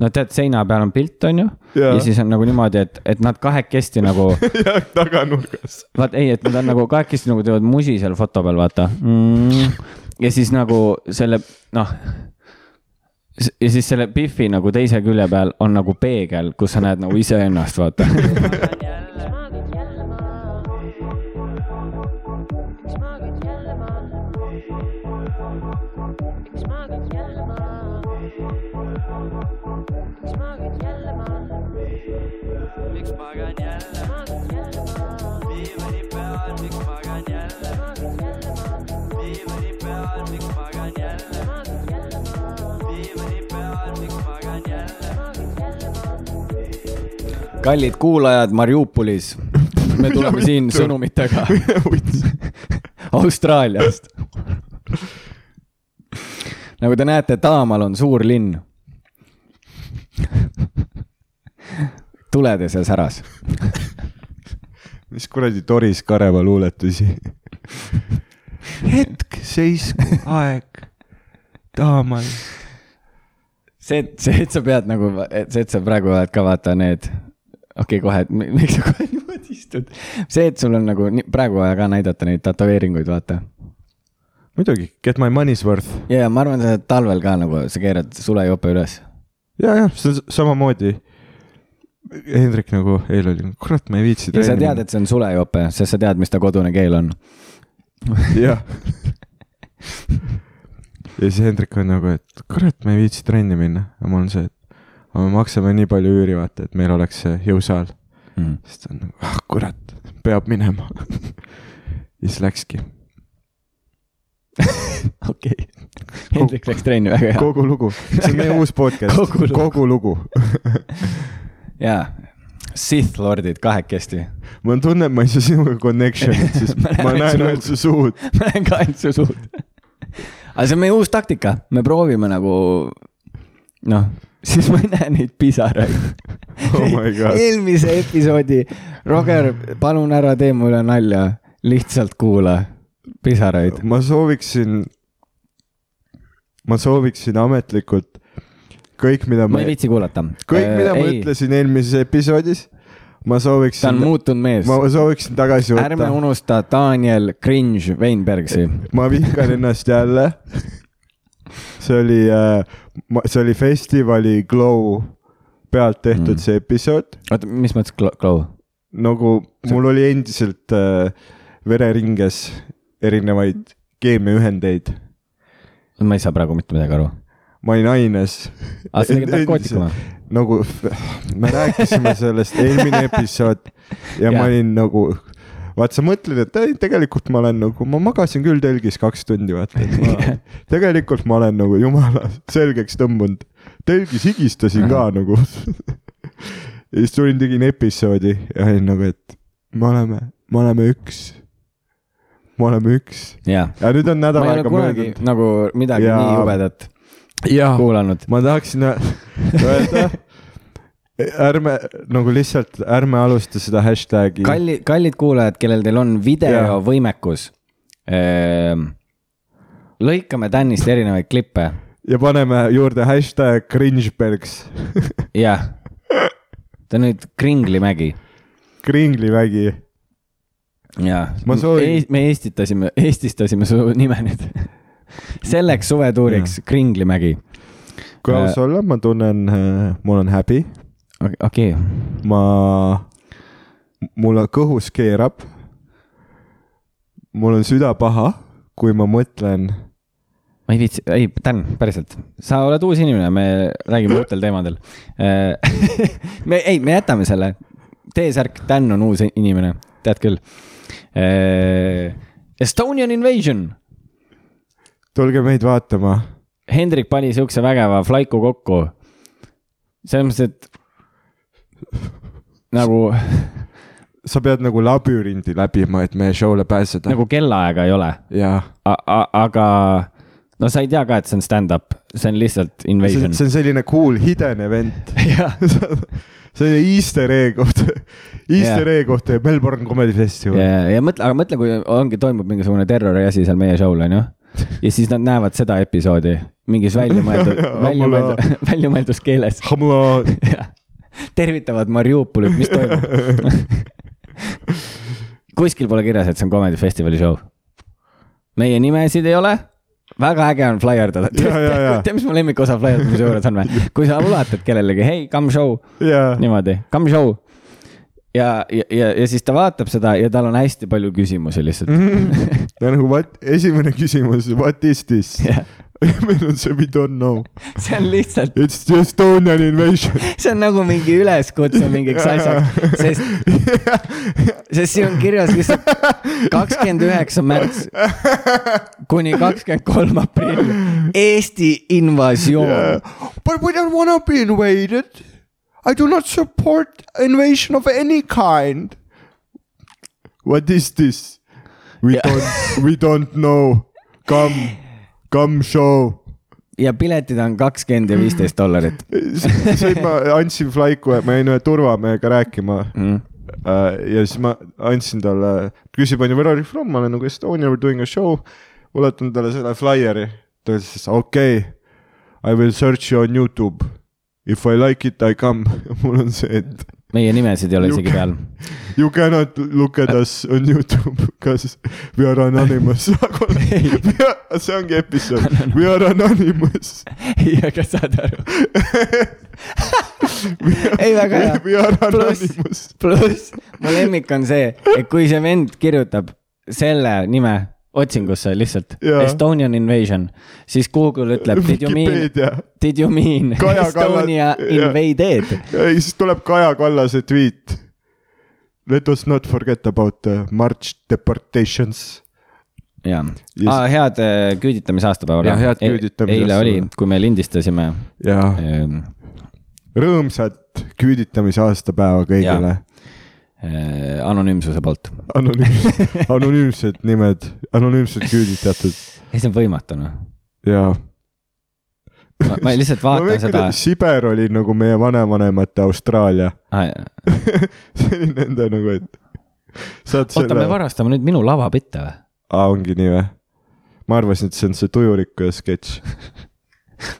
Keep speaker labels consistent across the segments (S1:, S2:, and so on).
S1: no tead , seina peal on pilt , on ju .
S2: Jaa.
S1: ja siis on nagu niimoodi , et , et nad kahekesti nagu ,
S2: ja taganurgas .
S1: vaat ei , et nad on nagu kahekesti nagu teevad musi seal foto peal , vaata mm. . ja siis nagu selle , noh . ja siis selle Biffi nagu teise külje peal on nagu peegel , kus sa näed nagu iseennast , vaata .
S3: Miks magan jälle ma , diivani peal , miks magan jälle ma , diivani peal , miks magan jälle ma , diivani peal , miks magan jälle ma .
S1: kallid kuulajad Mariupolis , me tuleme siin sõnumitega Austraaliast . nagu te näete , Taamal on suur linn . tuledes ja säras .
S2: mis kuradi Doris Kareva luuletusi ? hetk , seisku , aeg , taamal .
S1: see , et see , et sa pead nagu , see , et sa praegu oled ka vaata need , okei okay, , kohe , miks sa kohe niimoodi istud . see , et sul on nagu nii- praegu vaja ka näidata neid tätoveeringuid , vaata
S2: muidugi , get my money's worth .
S1: ja , ja ma arvan , sa oled talvel ka nagu , sa keerad sulejope üles .
S2: ja , jah , see on s- samamoodi . Hendrik nagu eile oli , kurat , ma ei viitsi .
S1: ja sa tead , et see on sulejope , sest sa tead , mis ta kodune keel on .
S2: jah . ja siis Hendrik on nagu , et kurat , me ei viitsi trenni minna ja mul on see , et aga me maksame nii palju üüri , vaata , et meil oleks see jõusaal .
S1: Mm.
S2: siis ta on nagu , ah kurat , peab minema . ja siis läkski ,
S1: okei , Hendrik läks trenni , väga hea .
S2: kogu lugu , see on meie uus podcast ,
S1: Kogu lugu.
S2: kogu lugu .
S1: jaa , Sith lordid kahekesti .
S2: mul on tunne , et ma ei saa sinuga connection'it , sest
S1: Ma
S2: ma
S1: näen
S2: näen
S1: su
S2: ainult su suud .
S1: ma näen ka ainult su suud . aga see on meie uus taktika , me proovime nagu , noh , siis ma ei näe neid pisaraid .
S2: Oh my god.
S1: eelmise episoodi , Roger , palun ära tee mulle nalja , lihtsalt kuula pisaraid .
S2: ma sooviksin , ma sooviksin ametlikult kõik , mida e-
S1: ma ei viitsi kuulata . Äh,
S2: kõik , mida ma . ütlesin eelmises episoodis ,
S1: ta
S2: ma
S1: on
S2: sooviksin ,
S1: muutunud mees
S2: ma sooviksin tagasi
S1: ärme
S2: võtta .
S1: unusta Daniel Cringe Weinbergsi .
S2: ma vihkan ennast jälle . see oli , see oli festivali Glow pealt tehtud
S1: Mm.
S2: mm. see episood ,
S1: oota , mis mõttes klo- Glow ?
S2: nagu mul oli endiselt äh, vereringes erinevaid keemiaühendeid .
S1: ma ei saa praegu mitte midagi aru . Ah,
S2: ma olin aines .
S1: aa , sa tegid narkootikuma ?
S2: nagu me rääkisime sellest eelmine episood ja
S1: Jah.
S2: ma olin nagu , vaat sa mõtled , et ei, tegelikult ma olen nagu , ma magasin küll telgis kaks tundi , vaata , et ma tegelikult ma olen nagu jumala selgeks tõmbunud . telgis higistasin ka nagu . ja siis tulin , tegin episoodi ja olin nagu , et me oleme , me oleme üks . me oleme üks .
S1: jaa .
S2: ja nüüd on
S1: ma
S2: nädal
S1: ei ole
S2: aega
S1: kunagi
S2: möödunud .
S1: nagu midagi
S2: Ja-
S1: nii jubedat
S2: jaa
S1: kuulanud .
S2: ma tahaksin ö- öelda , ärme nagu lihtsalt ärme alusta seda hashtag'i .
S1: kalli , kallid kuulajad , kellel teil on
S2: Jaa.
S1: videovõimekus . lõikame Tänist erinevaid klippe ,
S2: ja paneme juurde hashtag cringebergs ,
S1: jah . ta on nüüd Kringlimägi
S2: kringlivägi .
S1: jaa ,
S2: Ma soovin-
S1: me eestitasime , eestistasime su nime nüüd . selleks suvetuuriks Kringlimägi .
S2: kui aus
S1: Äh.
S2: olla , ma tunnen , mul on häbi ,
S1: okei okay. ,
S2: ma , mul on kõhus keerab . mul on süda paha , kui ma mõtlen ,
S1: ma ei viitsi , ei , Dan , päriselt , sa oled uus inimene , me räägime uutel teemadel . me , ei , me jätame selle , T-särk , Dan on uus inimene , tead küll . Estonian invasion ,
S2: tulge meid vaatama .
S1: Hendrik pani siukse vägeva flaiku kokku . selles mõttes , et nagu ,
S2: sa pead nagu labürindi läbima , et meie show'le pääseda nagu...
S1: nagu kellaaega ei ole ,
S2: ja
S1: aga no sa ei tea ka , et see on stand-up , see on lihtsalt
S2: see,
S1: invasion .
S2: see on selline cool hidden event .
S1: jah ,
S2: see oli Easter E koht , Easter E koht ja Melbourne Comedy Festival yeah. .
S1: ja , ja mõtle , aga mõtle , kui ongi , toimub mingisugune terroriasi seal meie show'l , onju . ja siis nad näevad seda episoodi , mingis väljamõeldud
S2: Jaa, jaa, ,
S1: väljamõeldud , väljamõeldus keeles
S2: Hamla ,
S1: tervitavad Mariupolit , mis toimub ? kuskil pole kirjas , et see on Comedy Festivali show . meie nimesid ei ole , väga äge on flaierdada .
S2: Ja, ja, ja.
S1: tead , mis mu lemmikosa flaierdamise juures on või ? kui sa ulatad kellelegi , hei , come show ,
S2: jaa .
S1: niimoodi , come show . ja , ja, ja , ja siis ta vaatab seda ja tal on hästi palju küsimusi lihtsalt
S2: Mhm.
S1: mm .
S2: ja nagu what , esimene küsimus , what is this ?
S1: -hmm.
S2: meil on see we don't know ,
S1: see on lihtsalt ,
S2: it's the Estonian invasion .
S1: see on nagu mingi üleskutse mingiks asjaks , sest , sest siin on kirjas lihtsalt kakskümmend üheksa märts kuni kakskümmend kolm aprill , Eesti invasioon .
S2: But we don't wanna be invaded . I do not support invasion of any kind . What is this ? We
S1: Ja-
S2: don't , we don't know . Come , come show .
S1: ja piletid on kakskümmend ja viisteist dollarit
S2: siis ma andsin Flaiku , ma jäin ühe turvamehega rääkima
S1: mm. .
S2: Äh, ja siis ma andsin talle , küsib onju , where are you from , ma olen nagu Estonia , we are doing a show . ulatan talle selle flaieri , ta ütles siis okei okay, , I will search you on Youtube . If I like it , I come . mul on see , et
S1: meie nimesid ei ole isegi
S2: Juke.
S1: peal .
S2: you cannot look at us on Youtube , kas we are anonymous . see ongi episood , we are anonymous .
S1: ja kas saad aru ? ei , väga hea .
S2: We are
S1: Pluss-
S2: anonymous .
S1: pluss mu lemmik on see , et kui see vend kirjutab selle nime otsingusse lihtsalt
S2: Jaa.
S1: yeah. Estonian invasion , siis Google ütleb , did you mean ,
S2: Vikipeedia
S1: did you mean
S2: Kaja
S1: Estonia
S2: Kallas- jaa.
S1: invaded ?
S2: ja siis tuleb Kaja Kallase tweet . Let us not forget about the march deportations .
S1: jaa
S2: Yes.
S1: ah, , head eh, küüditamisaastapäeva .
S2: Jah, head küüditamise
S1: eile oli , kui me lindistasime . ähm,
S2: ja rõõmsat küüditamise aastapäeva kõigile .
S1: äh, anonüümsuse poolt .
S2: anonüümsed , anonüümsed nimed , anonüümsed küüditatud
S1: ei , see on võimatu noh .
S2: ja .
S1: ma lihtsalt vaatan seda .
S2: Siber oli nagu meie vanavanemate Austraalia .
S1: oota ,
S2: see oli nende nagu , et saad
S1: me
S2: selle ,
S1: varastame nüüd minu lavapitte või ?
S2: ongi nii või ? ma arvasin , et see on see tujurikkuja sketš .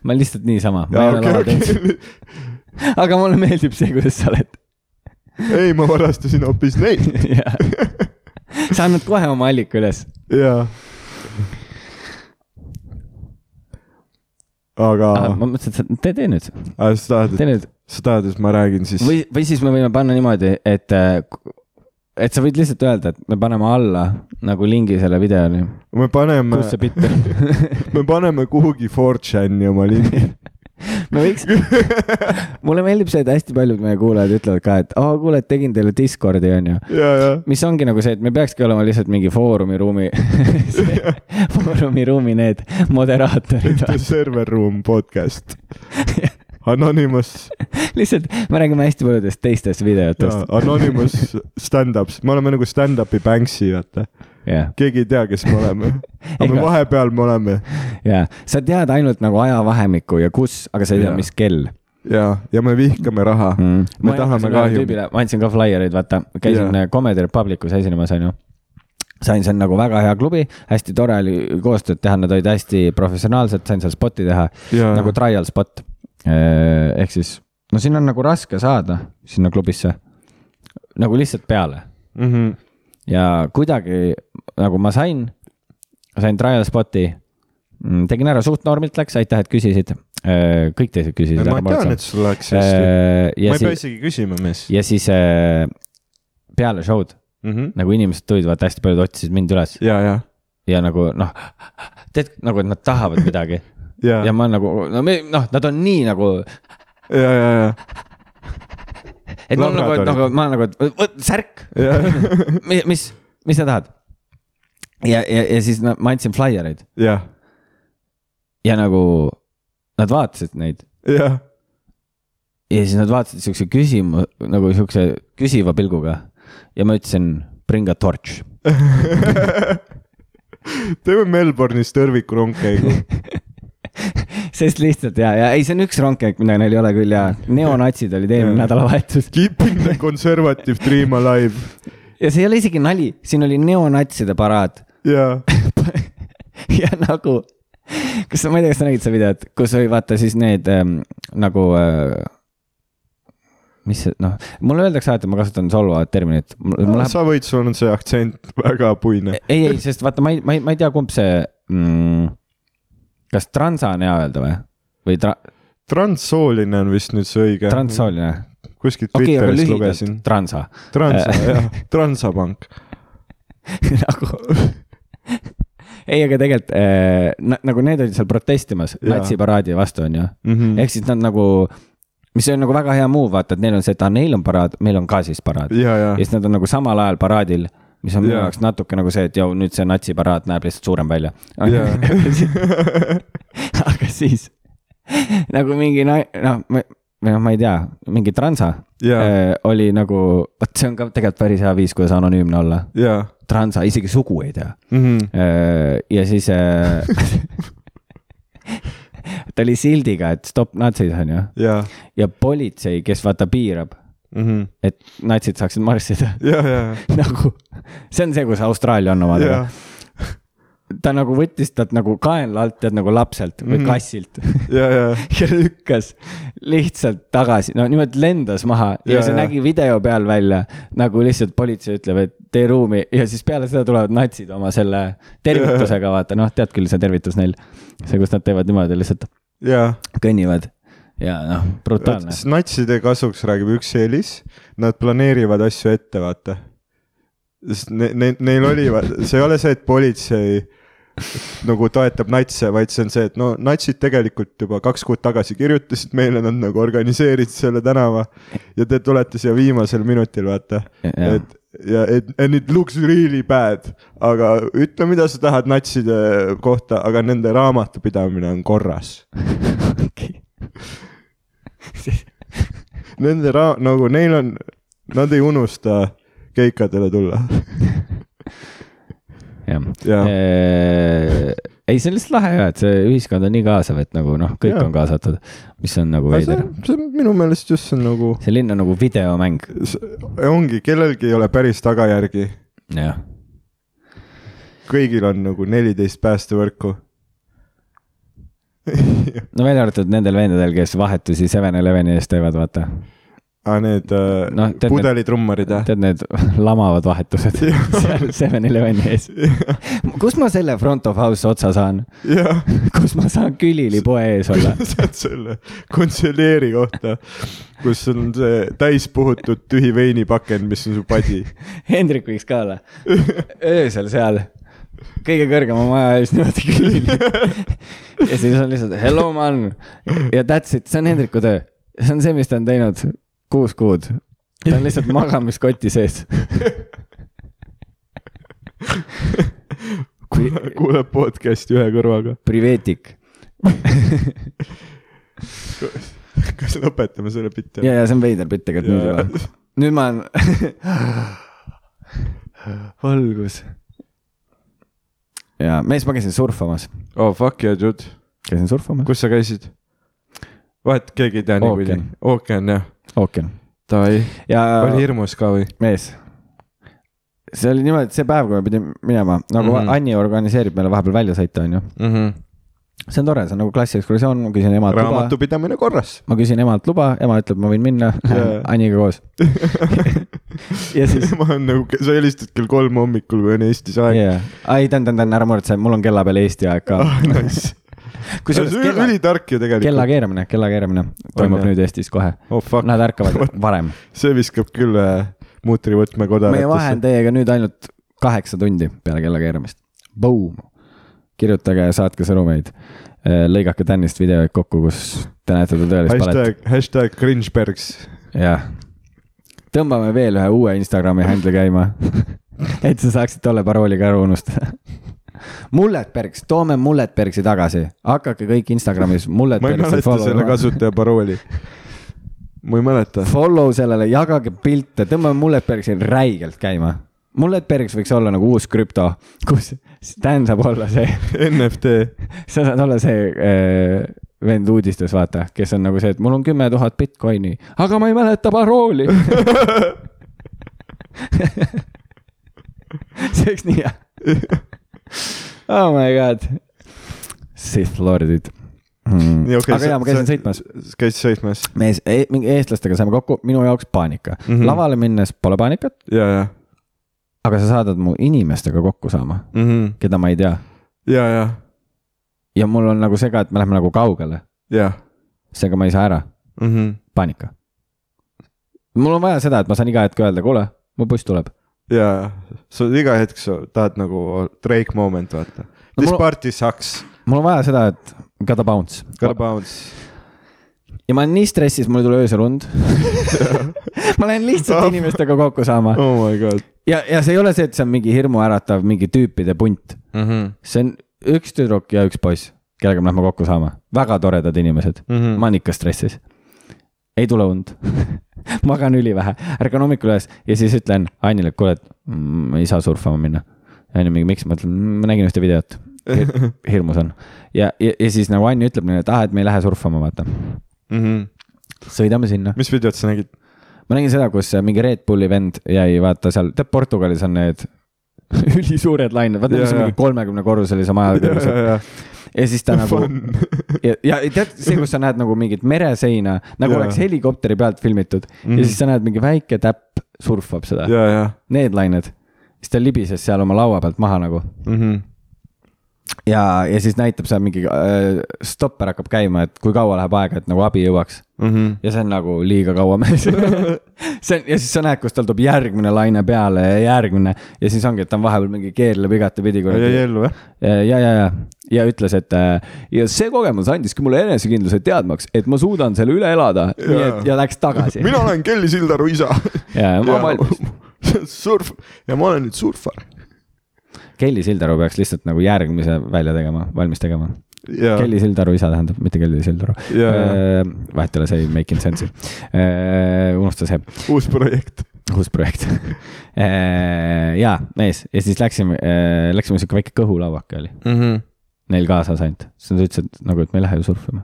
S1: ma lihtsalt niisama , ma ei ole lava
S2: Okay,
S1: teinud ,
S2: okay.
S1: aga mulle meeldib see , kuidas sa oled .
S2: ei , ma varastasin hoopis neid .
S1: sa annad kohe oma allika üles .
S2: jaa . aga
S1: ma mõtlesin , et sa , tee , tee nüüd ,
S2: ah, , sa tahad ,
S1: tee nüüd
S2: sa tahad , et ma räägin siis ?
S1: või , või siis me võime panna niimoodi , et , et sa võid lihtsalt öelda , et me paneme alla nagu lingi selle videoni ,
S2: me paneme ,
S1: kus see bitt on .
S2: me paneme kuhugi 4chan'i oma lingi .
S1: me võiks , mulle meeldib see , et hästi paljud meie kuulajad ütlevad ka , et aa , kuule , et tegin teile Discordi , onju .
S2: ja , ja ,
S1: mis ongi nagu see , et me peakski olema lihtsalt mingi foorumi ruumi , foorumi ruumi need moderaatorid .
S2: The server room podcast . Anonymous ,
S1: lihtsalt me räägime hästi paljudest teistest videotest .
S2: Anonymous stand-ups , me oleme nagu stand-up'i Banksy , vaata .
S1: jah ,
S2: keegi ei tea , kes me oleme . aga me
S1: Ega-
S2: vahepeal me oleme
S1: ja sa tead ainult nagu ajavahemikku ja kus , aga sa ei tea
S2: Jaa. ,
S1: mis kell
S2: ja , ja me vihkame raha mm. .
S1: mm. .
S2: Me tahame kahju.
S1: ma andsin ka flaiereid , vaata , käisin
S2: Jaa.
S1: yeah. Comedy Republicus esinemas , onju sain , see on nagu väga hea klubi , hästi tore oli koostööd teha , nad olid hästi professionaalsed , sain seal spot'i teha
S2: ja
S1: nagu trial spot . ehk siis , no siin on nagu raske saada sinna klubisse nagu lihtsalt peale
S2: mm
S1: Mm-hmm.
S2: -hmm.
S1: ja kuidagi nagu ma sain , sain trial spot'i , tegin ära , suht normilt läks , aitäh , et küsisid . kõik teised küsisid .
S2: ma tean , et sul läks hästi . ma
S1: Äh, ja
S2: ei pea
S1: siis ,
S2: isegi küsima , mees
S1: ja siis äh, peale show'd
S2: mm . -hmm.
S1: nagu inimesed tulid , vaata hästi paljud otsisid mind üles
S2: ja , ja ,
S1: ja nagu noh , tead nagu , et nad tahavad midagi
S2: ja ,
S1: ja
S2: ja ,
S1: ma nagu , no me , noh , nad on nii nagu ,
S2: ja , ja ,
S1: et mul nagu ,
S2: Labradorid.
S1: nagu ma nagu , vot särk ,
S2: ja ,
S1: mis , mis sa tahad ? ja , ja , ja siis no, ma andsin flaiereid
S2: ja ,
S1: ja nagu nad vaatasid neid
S2: ja ,
S1: ja siis nad vaatasid siukse küsimu- , nagu siukse küsiva pilguga ja ma ütlesin bring a torch .
S2: ja . teeme Melbourne'is tõrviku rongkäigu .
S1: sest lihtsalt ja , ja ei , see on üks rongkäik , mida neil ei ole küll ja neonatsid olid eelmine
S2: Jaa.
S1: nädalavahetus
S2: Keeping the conservative dream alive
S1: ja see ei ole isegi nali , siin oli neonatside paraad
S2: ja ,
S1: ja nagu kas sa , ma ei tea , kas sa nägid seda videot , kus oli vaata siis need ähm, nagu äh, mis see , noh , mulle öeldakse alati , et ma kasutan solvavat terminit . mul mul läheb ,
S2: sa võid , sul on see aktsent väga puine .
S1: ei , ei , sest vaata , ma ei , ma ei , ma ei tea , kumb see mm, , kas transa on hea öelda või , või tra,
S2: transsooline on vist nüüd see õige .
S1: transsooline ,
S2: kuskilt
S1: okei , aga
S2: Twitterist lugesin
S1: lühidalt . transa
S2: Transa ,
S1: Äh.
S2: jah , Transapank .
S1: nagu ei , aga tegelikult äh, na- nagu need olid seal protestimas
S2: Jaa.
S1: natsiparaadi vastu , onju .
S2: jah ,
S1: ehk siis nad nagu , mis on nagu väga hea move , vaata , et neil on see , et aa , neil on paraad , meil on ka siis paraad .
S2: ja , ja
S1: ja siis nad on nagu samal ajal paraadil , mis on minu
S2: Jaa.
S1: jaoks natuke nagu see , et jõu , nüüd see natsiparaad näeb lihtsalt suurem välja .
S2: Jaa.
S1: aga siis nagu mingi na- , noh , või noh , ma ei tea , mingi transa
S2: Jaa.
S1: äh, oli nagu , vot see on ka tegelikult päris hea viis , kuidas anonüümne olla .
S2: ja
S1: transa , isegi sugu ei tea
S2: mhm.
S1: Öö, ja siis äh, ta oli sildiga , et stopp natsid onju
S2: ja ,
S1: ja politsei , kes vaata piirab , et natsid saaksid marssida
S2: ja , ja ,
S1: nagu see on see , kus Austraalia on
S2: ja ,
S1: omadega . ta nagu võttis talt nagu kaenla alt , tead nagu lapselt või
S2: Mhm.
S1: kassilt
S2: ja , ja ,
S1: ja lükkas lihtsalt tagasi , no niimoodi lendas maha ja, ja
S2: Jaa,
S1: see
S2: jaa.
S1: nägi video peal välja nagu lihtsalt politsei ütleb , et tee ruumi ja siis peale seda tulevad natsid oma selle tervitusega , vaata noh , tead küll , see tervitus neil , see , kus nad teevad niimoodi lihtsalt
S2: ja .
S1: kõnnivad ja noh , brutaalne .
S2: natside kasuks räägib üks eelis , nad planeerivad asju ette , vaata . sest ne- , ne- , neil oli , see ei ole see , et politsei nagu toetab natse , vaid see on see , et no natsid tegelikult juba kaks kuud tagasi kirjutasid meile , nad nagu organiseerisid selle tänava ja te tulete siia viimasel minutil , vaata
S1: Jah.
S2: et ja et and it looks really bad , aga ütle , mida sa tahad natside kohta , aga nende raamatupidamine on korras . Nende ra- , nagu neil on , nad ei unusta keikadele tulla .
S1: jah
S2: Jaa. ,
S1: ei , see on lihtsalt lahe ja , et see ühiskond on nii kaasav , et nagu noh , kõik
S2: Jaa.
S1: on kaasatud , mis on nagu
S2: see
S1: veider
S2: on , see on minu meelest just see on nagu ,
S1: see linn on nagu videomäng ,
S2: ongi , kellelgi ei ole päris tagajärgi ,
S1: jah
S2: kõigil on nagu neliteist päästevõrku .
S1: no välja arvatud nendel vendadel , kes vahetusi Seven Eleveni ees teevad , vaata .
S2: aga Ah, need
S1: Noh,
S2: no,
S1: tead need-
S2: pudelitrumparid jah ?
S1: tead , need lamavad vahetused seal Seven Eleveni ees . kus ma selle front of house otsa saan ?
S2: jah ,
S1: kus ma saan külili poe ees olla ?
S2: saad selle kontseleeri kohta , kus on see täispuhutud tühi veinipakend , mis on su padi .
S1: Hendrik võiks ka olla öösel seal , kõige kõrgema maja ees niimoodi külili . ja siis on lihtsalt hello man ja that's it , see on Hendriku töö . see on see , mis ta on teinud kuus kuud . ta on lihtsalt magamiskoti sees .
S2: kuuleb podcast'i ühe kõrvaga .
S1: Privetik
S2: kas lõpetame selle bitti
S1: ja , ja see on veider pitt tegelikult nüüd
S2: Jaa.
S1: juba . nüüd ma olen . valgus . ja mees , ma käisin surfamas ,
S2: oh fuck yeah dude ,
S1: käisin surfamas .
S2: kus sa käisid ? vahet , keegi ei tea niikuinii
S1: Ookean. .
S2: ookean jah ,
S1: ookean
S2: davai ,
S1: ja
S2: oli hirmus ka või ?
S1: mees , see oli niimoodi , et see päev , kui me pidime minema , nagu mm
S2: Mhm.
S1: -hmm. Anni organiseerib meile vahepeal väljasõite , onju . see on tore , see on nagu klassiekskursioon , ma küsin emalt luba ,
S2: raamatupidamine korras .
S1: ma küsin emalt luba , ema ütleb , ma võin minna ,
S2: Jaa.
S1: Anniga koos . ja siis
S2: ma olen nagu , sa helistad kell kolm hommikul , kui on Eestis aeg .
S1: jaa , ei , tänan , tänan , ära muretse , mul on kella peal Eesti aeg ka .
S2: Nice , see
S1: kusjuures
S2: on
S1: kella ,
S2: ülitark ju
S1: kella
S2: tegelikult .
S1: keeramine , kella keeramine toimub
S2: jah.
S1: nüüd Eestis kohe .
S2: oh fuck .
S1: Nad ärkavad varem .
S2: see viskab küll äh,
S1: meie
S2: muutrivõtme
S1: vahe on
S2: kodaratesse .
S1: teiega nüüd ainult kaheksa tundi peale kella keeramist . Boom! kirjutage ja saatke sõnumeid . lõigake Tänist videoid kokku , kus te näete ta tõelist palet .
S2: hashtag , hashtag cringebergs .
S1: jah . tõmbame veel ühe uue Instagrami handle'i käima . et sa saaksid tolle parooliga ära unustada . mulletbergs , toome mulletbergsi tagasi , hakake kõik Instagramis
S2: ma ei
S1: mulletbergsi
S2: mäleta selle kasutaja parooli . ma ei mäleta .
S1: follow sellele , jagage pilte , tõmbame Mulletbergsi räigelt käima . Mulletbergs võiks olla nagu uus krüpto , kus Sten saab olla see ,
S2: NFT .
S1: sa saad olla see äh, vend uudistes , vaata , kes on nagu see , et mul on kümme tuhat Bitcoini , aga ma ei mäleta parooli . see oleks nii hea . Oh my god , Sith Lordid mm. .
S2: Nii, okei,
S1: aga
S2: sa-
S1: jaa , ma käisin
S2: sa-
S1: sõitmas .
S2: käis sõitmas
S1: mees e , mingi eestlastega saime kokku , minu jaoks paanika mm .
S2: Mhm.
S1: -hmm. lavale minnes pole paanikat ,
S2: ja , ja
S1: aga sa saadad mu inimestega kokku saama ,
S2: mm . -hmm.
S1: keda ma ei tea .
S2: ja , ja ,
S1: ja mul on nagu sega , et me läheme nagu kaugele ,
S2: ja
S1: seega ma ei saa ära ,
S2: mm . -hmm.
S1: paanika . mul on vaja seda , et ma saan iga hetk öelda , kuule , mu buss tuleb .
S2: ja , ja sa iga hetk sa tahad nagu Drake moment vaata no, .
S1: No
S2: This
S1: mul-
S2: mul... party sucks ,
S1: mul on vaja seda , et gotta bounce .
S2: gotta bounce .
S1: ja ma olen nii stressis , mul ei tule öösel und . ma lähen lihtsalt inimestega kokku saama
S2: Oh my god
S1: ja , ja see ei ole see , et see on mingi hirmuäratav mingi tüüpide punt .
S2: mm . -hmm.
S1: see on üks tüdruk ja üks poiss , kellega me lähme kokku saama , väga toredad inimesed .
S2: Mm -hmm.
S1: ma olen ikka stressis . ei tule und . magan ülivähe , ärkan hommikul üles ja siis ütlen Annile , et kuule , et mm, ma ei saa surfama minna . Anni mingi , miks , ma ütlen , ma nägin ühte videot Hir . hirmus on ja, ja , ja siis nagu Anni ütleb mulle , et ah , et me ei lähe surfama , vaata .
S2: Mm -hmm.
S1: sõidame sinna .
S2: mis videot sa nägid ?
S1: ma nägin seda , kus äh, mingi Red Bulli vend jäi , vaata seal , tead Portugalis on need ülisuured lained , vaata , mis on
S2: Jaa,
S1: mingi kolmekümne korruselise maja küljes . ja siis ta nagu
S2: Fun.
S1: ja , ja tead see , kus sa näed nagu mingit mereseina , nagu
S2: Jaa.
S1: oleks helikopteri pealt filmitud mm. ja siis sa näed mingi väike täpp surfab seda ,
S2: ja , ja
S1: need lained . siis ta libises seal oma laua pealt maha nagu
S2: mm . -hmm.
S1: ja , ja siis näitab seal mingi äh, stopper hakkab käima , et kui kaua läheb aega , et nagu abi jõuaks
S2: Mm -hmm.
S1: ja see on nagu liiga kaua mees . see on ja siis sa näed , kus tal tuleb järgmine laine peale ja järgmine ja siis ongi , et ta on vahepeal mingi keerleb igatepidi
S2: ja ,
S1: kuradi
S2: ja ellu jah ?
S1: Äh, ja , ja , ja , ja ütles , et äh, ja see kogemus andiski mulle enesekindluse teadmaks , et ma suudan selle üle elada , nii et ja läks tagasi .
S2: mina olen Kelly Sildaru isa .
S1: ja ma olen valmis ..
S2: surf ja ma olen nüüd surfar .
S1: Kelly Sildaru peaks lihtsalt nagu järgmise välja tegema , valmis tegema .
S2: ja ,
S1: Kelly äh, Sildaru isa tähendab , mitte Kelly Sildaru .
S2: Jaa, jaa.
S1: vahet ei ole , see ei make in sense'i . unusta see ,
S2: uus projekt .
S1: uus projekt . ja , mees ja siis läksime , läksime sihuke väike kõhulauake oli
S2: Mm -hmm.
S1: neil kaasas ainult , siis nad ütlesid nagu , et me ei lähe ju surfima .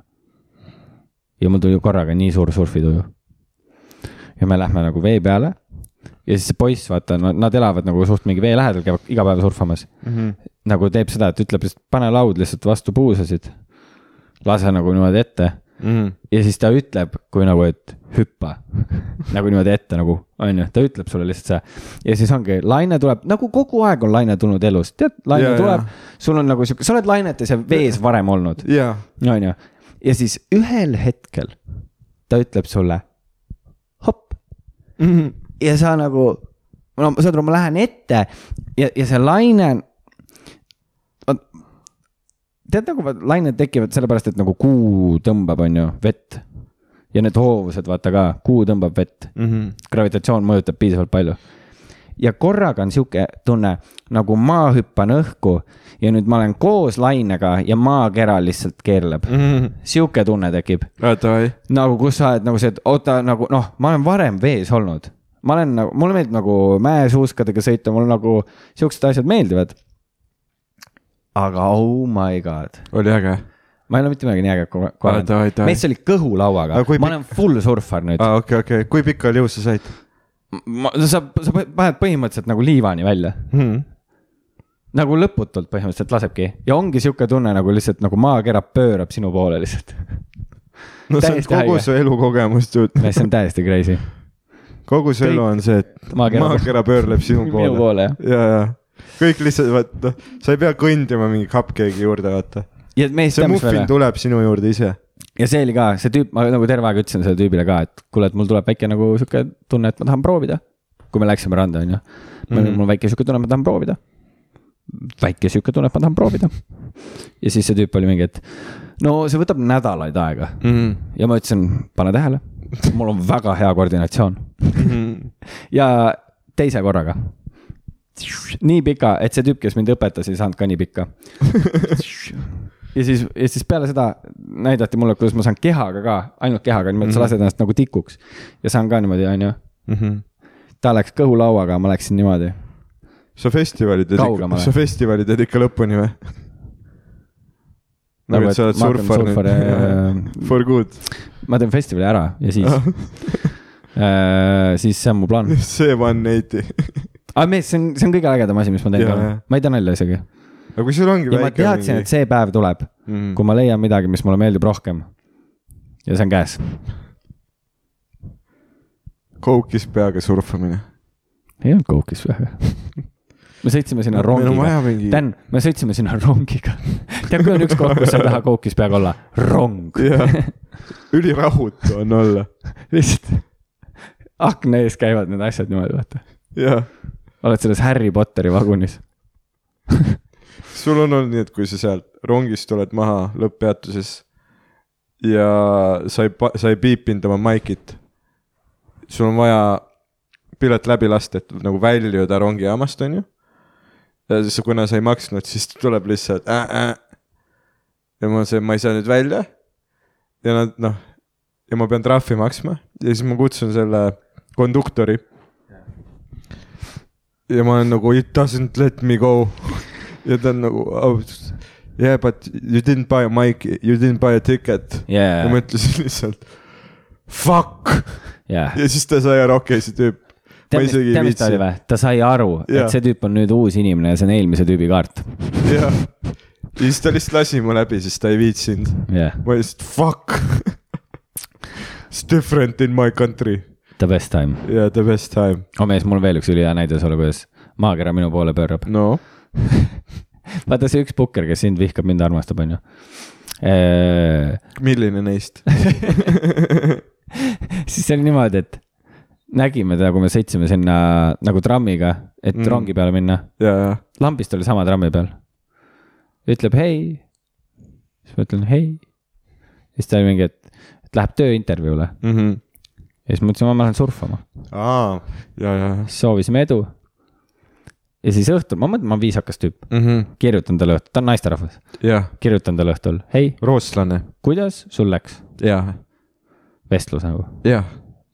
S1: ja mul tuli korraga nii suur surfituju . ja me lähme nagu vee peale ja siis see poiss , vaata , nad elavad nagu suht mingi vee lähedal , käivad iga päev surfamas .
S2: Mm -hmm.
S1: nagu teeb seda , et ütleb , et pane laud lihtsalt vastu puusasid . lase nagu niimoodi ette
S2: Mm -hmm.
S1: ja siis ta ütleb , kui nagu , et hüppa nagu niimoodi ette nagu , onju , ta ütleb sulle lihtsalt see . ja siis ongi , laine tuleb , nagu kogu aeg on laine tulnud elus , tead , laine
S2: Jaa,
S1: ja,
S2: jaa.
S1: tuleb , sul on nagu sihuke , sa oled lainetes ja vees varem olnud ,
S2: ja ,
S1: onju . ja siis ühel hetkel ta ütleb sulle hopp
S2: Mm-hmm.
S1: ja sa nagu , no saad aru , ma lähen ette ja , ja see laine . tead nagu vaat- lained tekivad sellepärast , et nagu kuu tõmbab , on ju , vett . ja need hoovused , vaata ka , kuu tõmbab vett , gravitatsioon mõjutab piisavalt palju . ja korraga on sihuke tunne nagu ma hüppan õhku ja nüüd ma olen koos lainega ja maakera lihtsalt keerleb ,
S2: Mhm.
S1: sihuke tunne tekib
S2: davai .
S1: nagu , kus sa oled nagu see , et oota , nagu noh , ma olen varem vees olnud . ma olen nagu , mulle meeldib nagu mäesuuskadega sõita , mul nagu siuksed asjad meeldivad . aga oh my god ,
S2: oli äge .
S1: ma ei ole mitte midagi nii äge kohe , kohe
S2: Ai, ai, ai.
S1: öelnud . mees oli kõhulauaga
S2: Aga , kui
S1: ma olen full surfar nüüd .
S2: aa , okei , okei , kui pikka liu sa said
S1: ma , sa , sa paned põhimõtteliselt nagu liivani välja
S2: mm ?
S1: nagu lõputult põhimõtteliselt lasebki ja ongi sihuke tunne nagu lihtsalt nagu maakera pöörab sinu poole lihtsalt .
S2: -hmm. no see on
S1: Täiesti
S2: kogu
S1: haige.
S2: su elukogemus , dude .
S1: see on täiesti crazy .
S2: kogu su elu on see , et
S1: Maakera-
S2: maakera pöörleb sinu
S1: Minu
S2: poole .
S1: poole, jah.
S2: ja , ja kõik lihtsalt , vaata , noh , sa ei pea kõndima mingi cupcake'i juurde , vaata .
S1: ja mees
S2: see
S1: teab , mis
S2: muffin tuleb sinu juurde ise .
S1: ja see oli ka see tüüp , ma nagu terve aeg ütlesin sellele tüübile ka , et kuule , et mul tuleb väike nagu sihuke tunne , et ma tahan proovida . kui me läksime randa , onju . mul oli-
S2: Mhm.
S1: mul on väike sihuke tunne , ma tahan proovida . väike sihuke tunne , et ma tahan proovida . ja siis see tüüp oli mingi , et no see võtab nädalaid aega . ja ma ütlesin , pane tähele , mul on väga hea koordinatsioon ja teise korraga . nii pika , et see tüüp , kes mind õpetas , ei saanud ka nii pikka . ja siis , ja siis peale seda näidati mulle , kuidas ma saan kehaga ka , ainult kehaga , niimoodi
S2: Mhm.
S1: sa lased ennast nagu tikuks ja saan ka niimoodi , onju . ta läks kõhulauaga , ma läksin niimoodi .
S2: sa festivali teed ikka
S1: Kaugemale. ,
S2: sa festivali teed ikka lõpuni või ? nagu , et sa oled surfar nüüd .
S1: nüüd .
S2: For good .
S1: äh, ma teen festivali ära ja siis , siis see on mu plaan .
S2: see one eighty .
S1: aga mees , see on , see on kõige ägedam asi , mis ma teinud
S2: Jaa,
S1: olen
S2: jah. .
S1: ma ei tea nalja isegi .
S2: aga kui sul ongi
S1: ja ma
S2: väike Mhm.
S1: teadsin , et see päev tuleb ,
S2: mingi...
S1: kui ma leian midagi , mis mulle meeldib rohkem . ja see on käes .
S2: koukis peaga surfamine .
S1: ei olnud koukis või ? me sõitsime sinna rongiga .
S2: mingi
S1: Dan , me sõitsime sinna rongiga . tead , kui on üks koht , kus sa ei taha koukis peaga olla , rong .
S2: jah , ülirahutu on olla ,
S1: lihtsalt akna ees käivad need asjad niimoodi , vaata .
S2: jah .
S1: oled selles Harry Potteri vagunis .
S2: sul on olnud nii , et kui sa sealt rongist tuled maha lõpppeatuses ja sa ei , sa ei piipinud oma maikit . sul on vaja pilet läbi lasta , et nagu väljuda rongijaamast , on ju . ja siis , kuna sa ei maksnud , siis tuleb lihtsalt äh, . Äh. ja ma ütlesin , ma ei saa nüüd välja . ja nad noh , ja ma pean trahvi maksma ja siis ma kutsun selle konduktori . ja ma olen nagu it doesn't let me go ja ta on nagu oh, , yeah but you didn't buy a mic , you didn't buy a ticket
S1: Jaa.
S2: ja ma ütlesin lihtsalt fuck
S1: jah .
S2: ja siis ta sai aru , okei , see tüüp , ma
S1: tead ,
S2: isegi ei
S1: mis ta oli
S2: viitsi .
S1: või ? ta sai aru ,
S2: Jaa.
S1: et see tüüp on nüüd uus inimene ja see on eelmise tüübi kaart .
S2: ja siis ta lihtsalt lasi mu läbi , sest ta ei viitsinud .
S1: jah ,
S2: ma lihtsalt fuck . It's different in my country
S1: the best time .
S2: yeah, , the best time .
S1: oh mees , mul on veel üks ülihea näide sulle , kuidas maakera minu poole pöörab .
S2: no
S1: vaata see üks pukker , kes sind vihkab , mind armastab , onju .
S2: milline neist ?
S1: siis see oli niimoodi , et nägime teda , kui me sõitsime sinna nagu trammiga , et
S2: Mm.
S1: mm. rongi peale minna .
S2: ja , ja ,
S1: lambist oli sama trammi peal . ütleb hei . siis ma ütlen hei . siis ta oli mingi , et , et läheb tööintervjuule ja siis ma ütlesin , ma lähen surfama .
S2: Mhm. aa , ja , ja ,
S1: soovisime edu . ja siis õhtul , ma mõtlen , ma olen viisakas tüüp ,
S2: ja ,
S1: kirjutan talle õhtul , ta on naisterahvas ,
S2: jah ,
S1: kirjutan talle õhtul , hei ,
S2: rootslane ,
S1: kuidas sul läks
S2: ja ,
S1: vestlus nagu .
S2: jah ,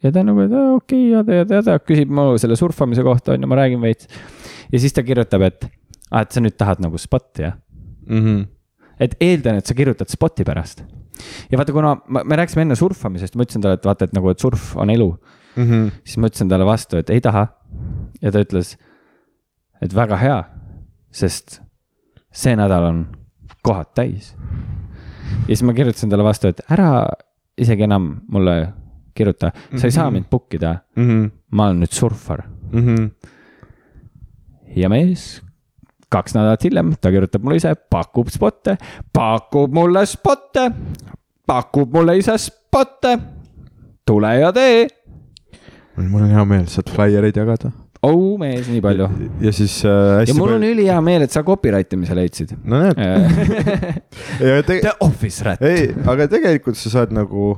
S1: ja ta nagu , et aa, okei okay, , jada , jada , jada , küsib mu selle surfamise kohta on ju , ma räägin veits . ja siis ta kirjutab , et , et sa nüüd tahad nagu spotti jah ?
S2: Mhm.
S1: et eeldan , et sa kirjutad spoti pärast . ja vaata , kuna ma, me rääkisime enne surfamisest , ma ütlesin talle , et vaata , et nagu , et surf on elu
S2: Mhm.
S1: siis ma ütlesin talle vastu , et ei taha . ja ta ütles , et väga hea , sest see nädal on kohad täis . ja siis ma kirjutasin talle vastu , et ära isegi enam mulle kirjuta , sa ei saa mind book ida ,
S2: Mhm.
S1: ma olen nüüd surfar . ja mees , kaks nädalat hiljem , ta kirjutab mulle ise , pakub spotte , pakub mulle spotte , pakub mulle ise spotte , tule ja tee .
S2: mul on hea meel , saad flaiereid jagada .
S1: au mees , nii palju .
S2: ja siis äh, hästi
S1: ja mul on ülihea meel , et sa copyright imise leidsid .
S2: no näed ,
S1: Äh,
S2: ja te- ,
S1: The Office Rat .
S2: ei , aga tegelikult sa saad nagu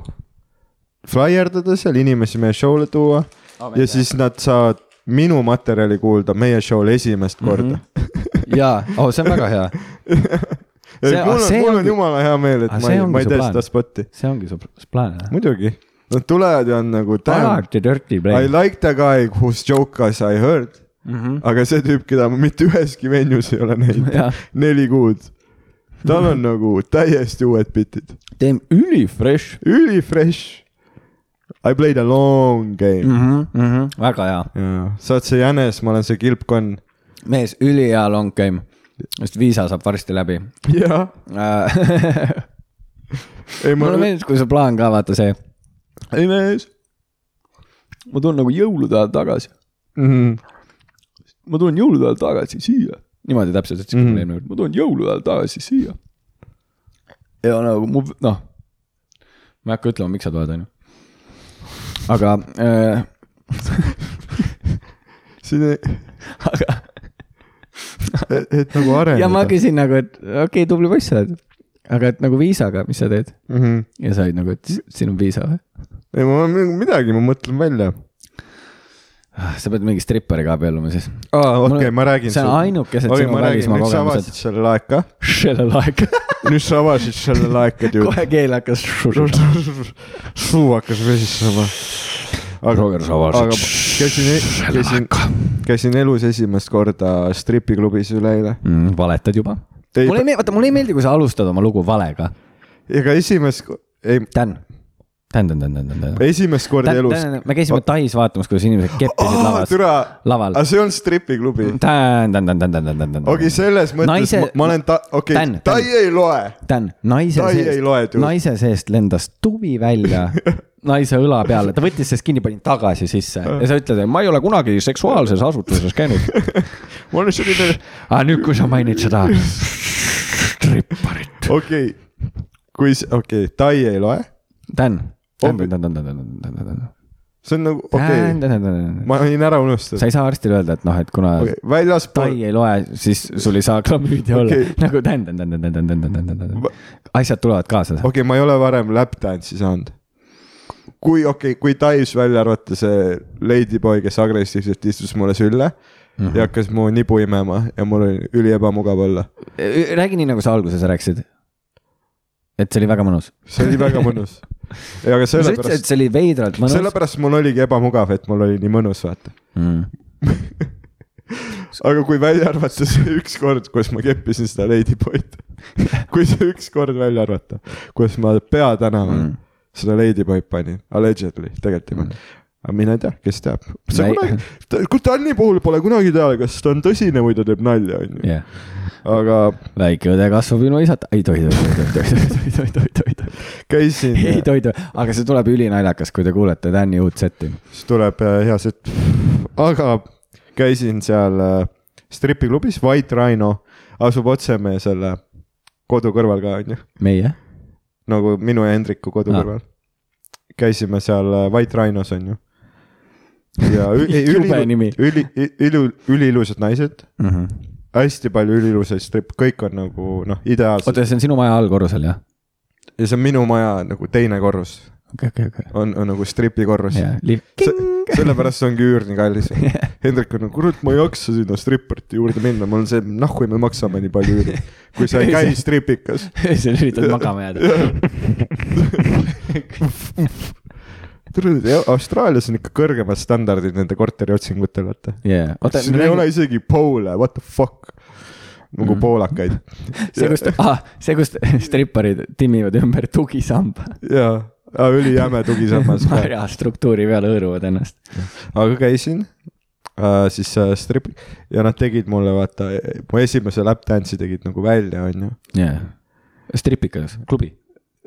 S2: flaierdada seal , inimesi meie show'le tuua oh, ja siis nad saavad minu materjali kuulda meie show'l esimest
S1: Mhm.
S2: korda mm .
S1: jaa , oh , see on väga hea .
S2: -hmm.
S1: See-
S2: See, mul
S1: ah,
S2: on ,
S1: see
S2: mul on
S1: ongi-
S2: jumala hea meel , et
S1: ah,
S2: ma
S1: see
S2: ei ,
S1: ongi
S2: ma ei
S1: su
S2: tee
S1: plaan.
S2: seda spotti ,
S1: see ongi su s- plaan .
S2: muidugi . Nad tulevad ja on nagu damn ,
S1: alati dirty
S2: I
S1: play .
S2: like the guy whose joke as I heard mm ,
S1: Mhm.
S2: -hmm. aga see tüüp , keda ma mitte üheski venues ei ole näinud , neli kuud tal on nagu täiesti uued bitid ,
S1: teeme üli fresh .
S2: üli fresh . I played a long game mm. .
S1: Mhm, väga hea .
S2: jaa , sa oled see jänes , ma olen see kilpkonn .
S1: mees , ülihea long game . sest viisa saab varsti läbi .
S2: jaa . ei , ma
S1: mulle
S2: olen ,
S1: meeldis , kui su plaan ka , vaata see .
S2: ei mees
S1: ma tulen nagu jõulude ajal tagasi .
S2: mm. .
S1: ma tulen jõulude ajal tagasi siia . niimoodi täpselt ütlesin mm. mulle eelmine kord , ma tulen jõulude ajal tagasi siia . ja nagu mu , noh . ma ei hakka ütlema , miks sa tuled , onju . aga äh, ,
S2: siin ei ,
S1: aga
S2: et, et nagu areneda .
S1: ja ma küsin nagu , et okei okay, , tubli poiss sa oled . aga et nagu viisaga , mis sa teed ?
S2: mm . -hmm.
S1: ja sa olid nagu , et s- siin on viisa või ?
S2: ei , ma olen midagi , ma mõtlen välja .
S1: Ah, sa pead mingi stripperiga abielluma siis .
S2: aa ,
S1: Mul-
S2: okei , ma räägin .
S1: see on ainukesed sinu välismaa
S2: nüüd sa
S1: kogemused.
S2: avasid selle laeka ,
S1: sellel aeg ,
S2: nüüd sa avasid selle laeka , dude .
S1: kohe keel hakkas .
S2: suu hakkas vesistama . aga ,
S1: Roger Savas
S2: aga käisin , käisin , käisin elus esimest korda stripiklubis üleeile .
S1: mm, . valetad juba ?
S2: noh. Ei-
S1: mulle ei meeldi , vaata mulle ei meeldi , kui sa alustad oma lugu valega .
S2: ega esimest , ei ,
S1: Dan , tähendab ,
S2: esimest korda elus .
S1: me käisime Tais vaatamas , kuidas inimesed keppisid lavas ,
S2: türa ,
S1: laval
S2: aga . see on stripiklubi . okei , selles mõttes
S1: Naise-
S2: ma- ma olen ta , okei
S1: Tän- ,
S2: ta
S1: tän-
S2: ei loe .
S1: Dan , naise
S2: Tai ei loe
S1: seest ,
S2: tüüp.
S1: naise seest lendas tuvi välja naise õla peale , ta võttis sellest kinni , pani tagasi sisse
S2: Äh.
S1: ja sa ütled , et ma ei ole kunagi seksuaalses asutuses käinud .
S2: ma olen selline ,
S1: aga nüüd , kui sa mainid seda stripparit .
S2: okei , kui , okei , ta ei loe ,
S1: Dan , Dan ,
S2: Obi-
S1: Dan , Dan , Dan , Dan , Dan , Dan ,
S2: see on nagu ,
S1: Dan ,
S2: okei ,
S1: Dan , Dan , Dan ,
S2: ma võin ära unustada
S1: sa . ei saa arstile öelda , et noh , et kuna
S2: Okay,
S1: tai
S2: väljaspool ,
S1: ei loe , siis sul ei saa klamüüdia olla
S2: Okei.
S1: nagu Dan , Dan , Dan , Dan , Dan , Dan , Dan , Dan , Dan
S2: Va- ,
S1: asjad tulevad kaasa .
S2: okei , ma ei ole varem lapdance'i saanud . kui , okei okay, , kui Tais välja arvata see ladyboy , kes agressiivselt istus mulle sülle mm
S1: Mhm.
S2: -hmm. ja hakkas mu nibu imema ja mul oli üli ebamugav olla .
S1: räägi nii , nagu sa alguses rääkisid . et see oli väga mõnus .
S2: see oli väga mõnus . ja aga
S1: sa ütlesid , et
S2: sellepärast ,
S1: see oli veidralt mõnus .
S2: sellepärast mul oligi ebamugav , et mul oli nii mõnus , vaata .
S1: mm. .
S2: aga kui välja arvata see üks kord , kus ma keppisin seda ladyboy'd , kui see üks kord välja arvata , kus ma peatänaval
S1: Mhm.
S2: mm. seda ladyboy'd panin , allegedly , tegelikult ei pannud mm. aga mina ei tea , kes teab . sa
S1: Ma ei-
S2: kunagi , kui Tanni puhul pole kunagi teada , kas ta on tõsine või ta teeb nalja , onju .
S1: jah yeah. ,
S2: aga
S1: väike õde kasvab ilma isata , ei tohi , tohi , tohi , tohi , tohi , tohi , tohi , tohi , tohi ,
S2: käisin ,
S1: ei tohi , tohi , aga see tuleb ülinaljakas , kui te kuulete Tänni uut setti .
S2: siis tuleb äh, hea sett . aga käisin seal äh, stripiklubis , White Rhino asub otse meie selle kodu kõrval ka , onju
S1: meie ?
S2: nagu minu ja Hendriku kodu
S1: Aa.
S2: kõrval . käisime seal äh, White Rhinos on ju . ja ü- ei,
S1: Jube
S2: üli
S1: nimi. ,
S2: üli , üli , üliilusad naised , hästi palju üliilusaid strippe , kõik on nagu noh , ideaalsed
S1: oota , see on sinu maja allkorrusel , jah ?
S2: ja see on minu maja nagu teine korrus
S1: okei , okei , okei .
S2: on, on nagu stripi korrus
S1: jaa , lift .
S2: sellepärast see ongi üür nii kallis . Hendrik on nagu , kurat , ma ei jaksa sinna stripparite juurde minna , mul on see , nahku me maksame nii palju üüri , kui sa ei käi stripikas .
S1: öösel üritad magama jääda .
S2: tule , Austraalias on ikka kõrgemad standardid nende korteriotsingutel , vaata .
S1: jaa , oota ,
S2: siin ei ole isegi poole , what the fuck . nagu mm. poolakaid .
S1: see , kus , ah , see , kus stripparid timmivad ümber tugisamba .
S2: jaa , ülihäme tugisammas ka .
S1: marja struktuuri peal hõõruvad ennast .
S2: aga käisin äh, siis äh, strip- ja nad tegid mulle vaata , mu esimese lap dance'i tegid nagu välja , onju .
S1: jaa , stripikas , klubi .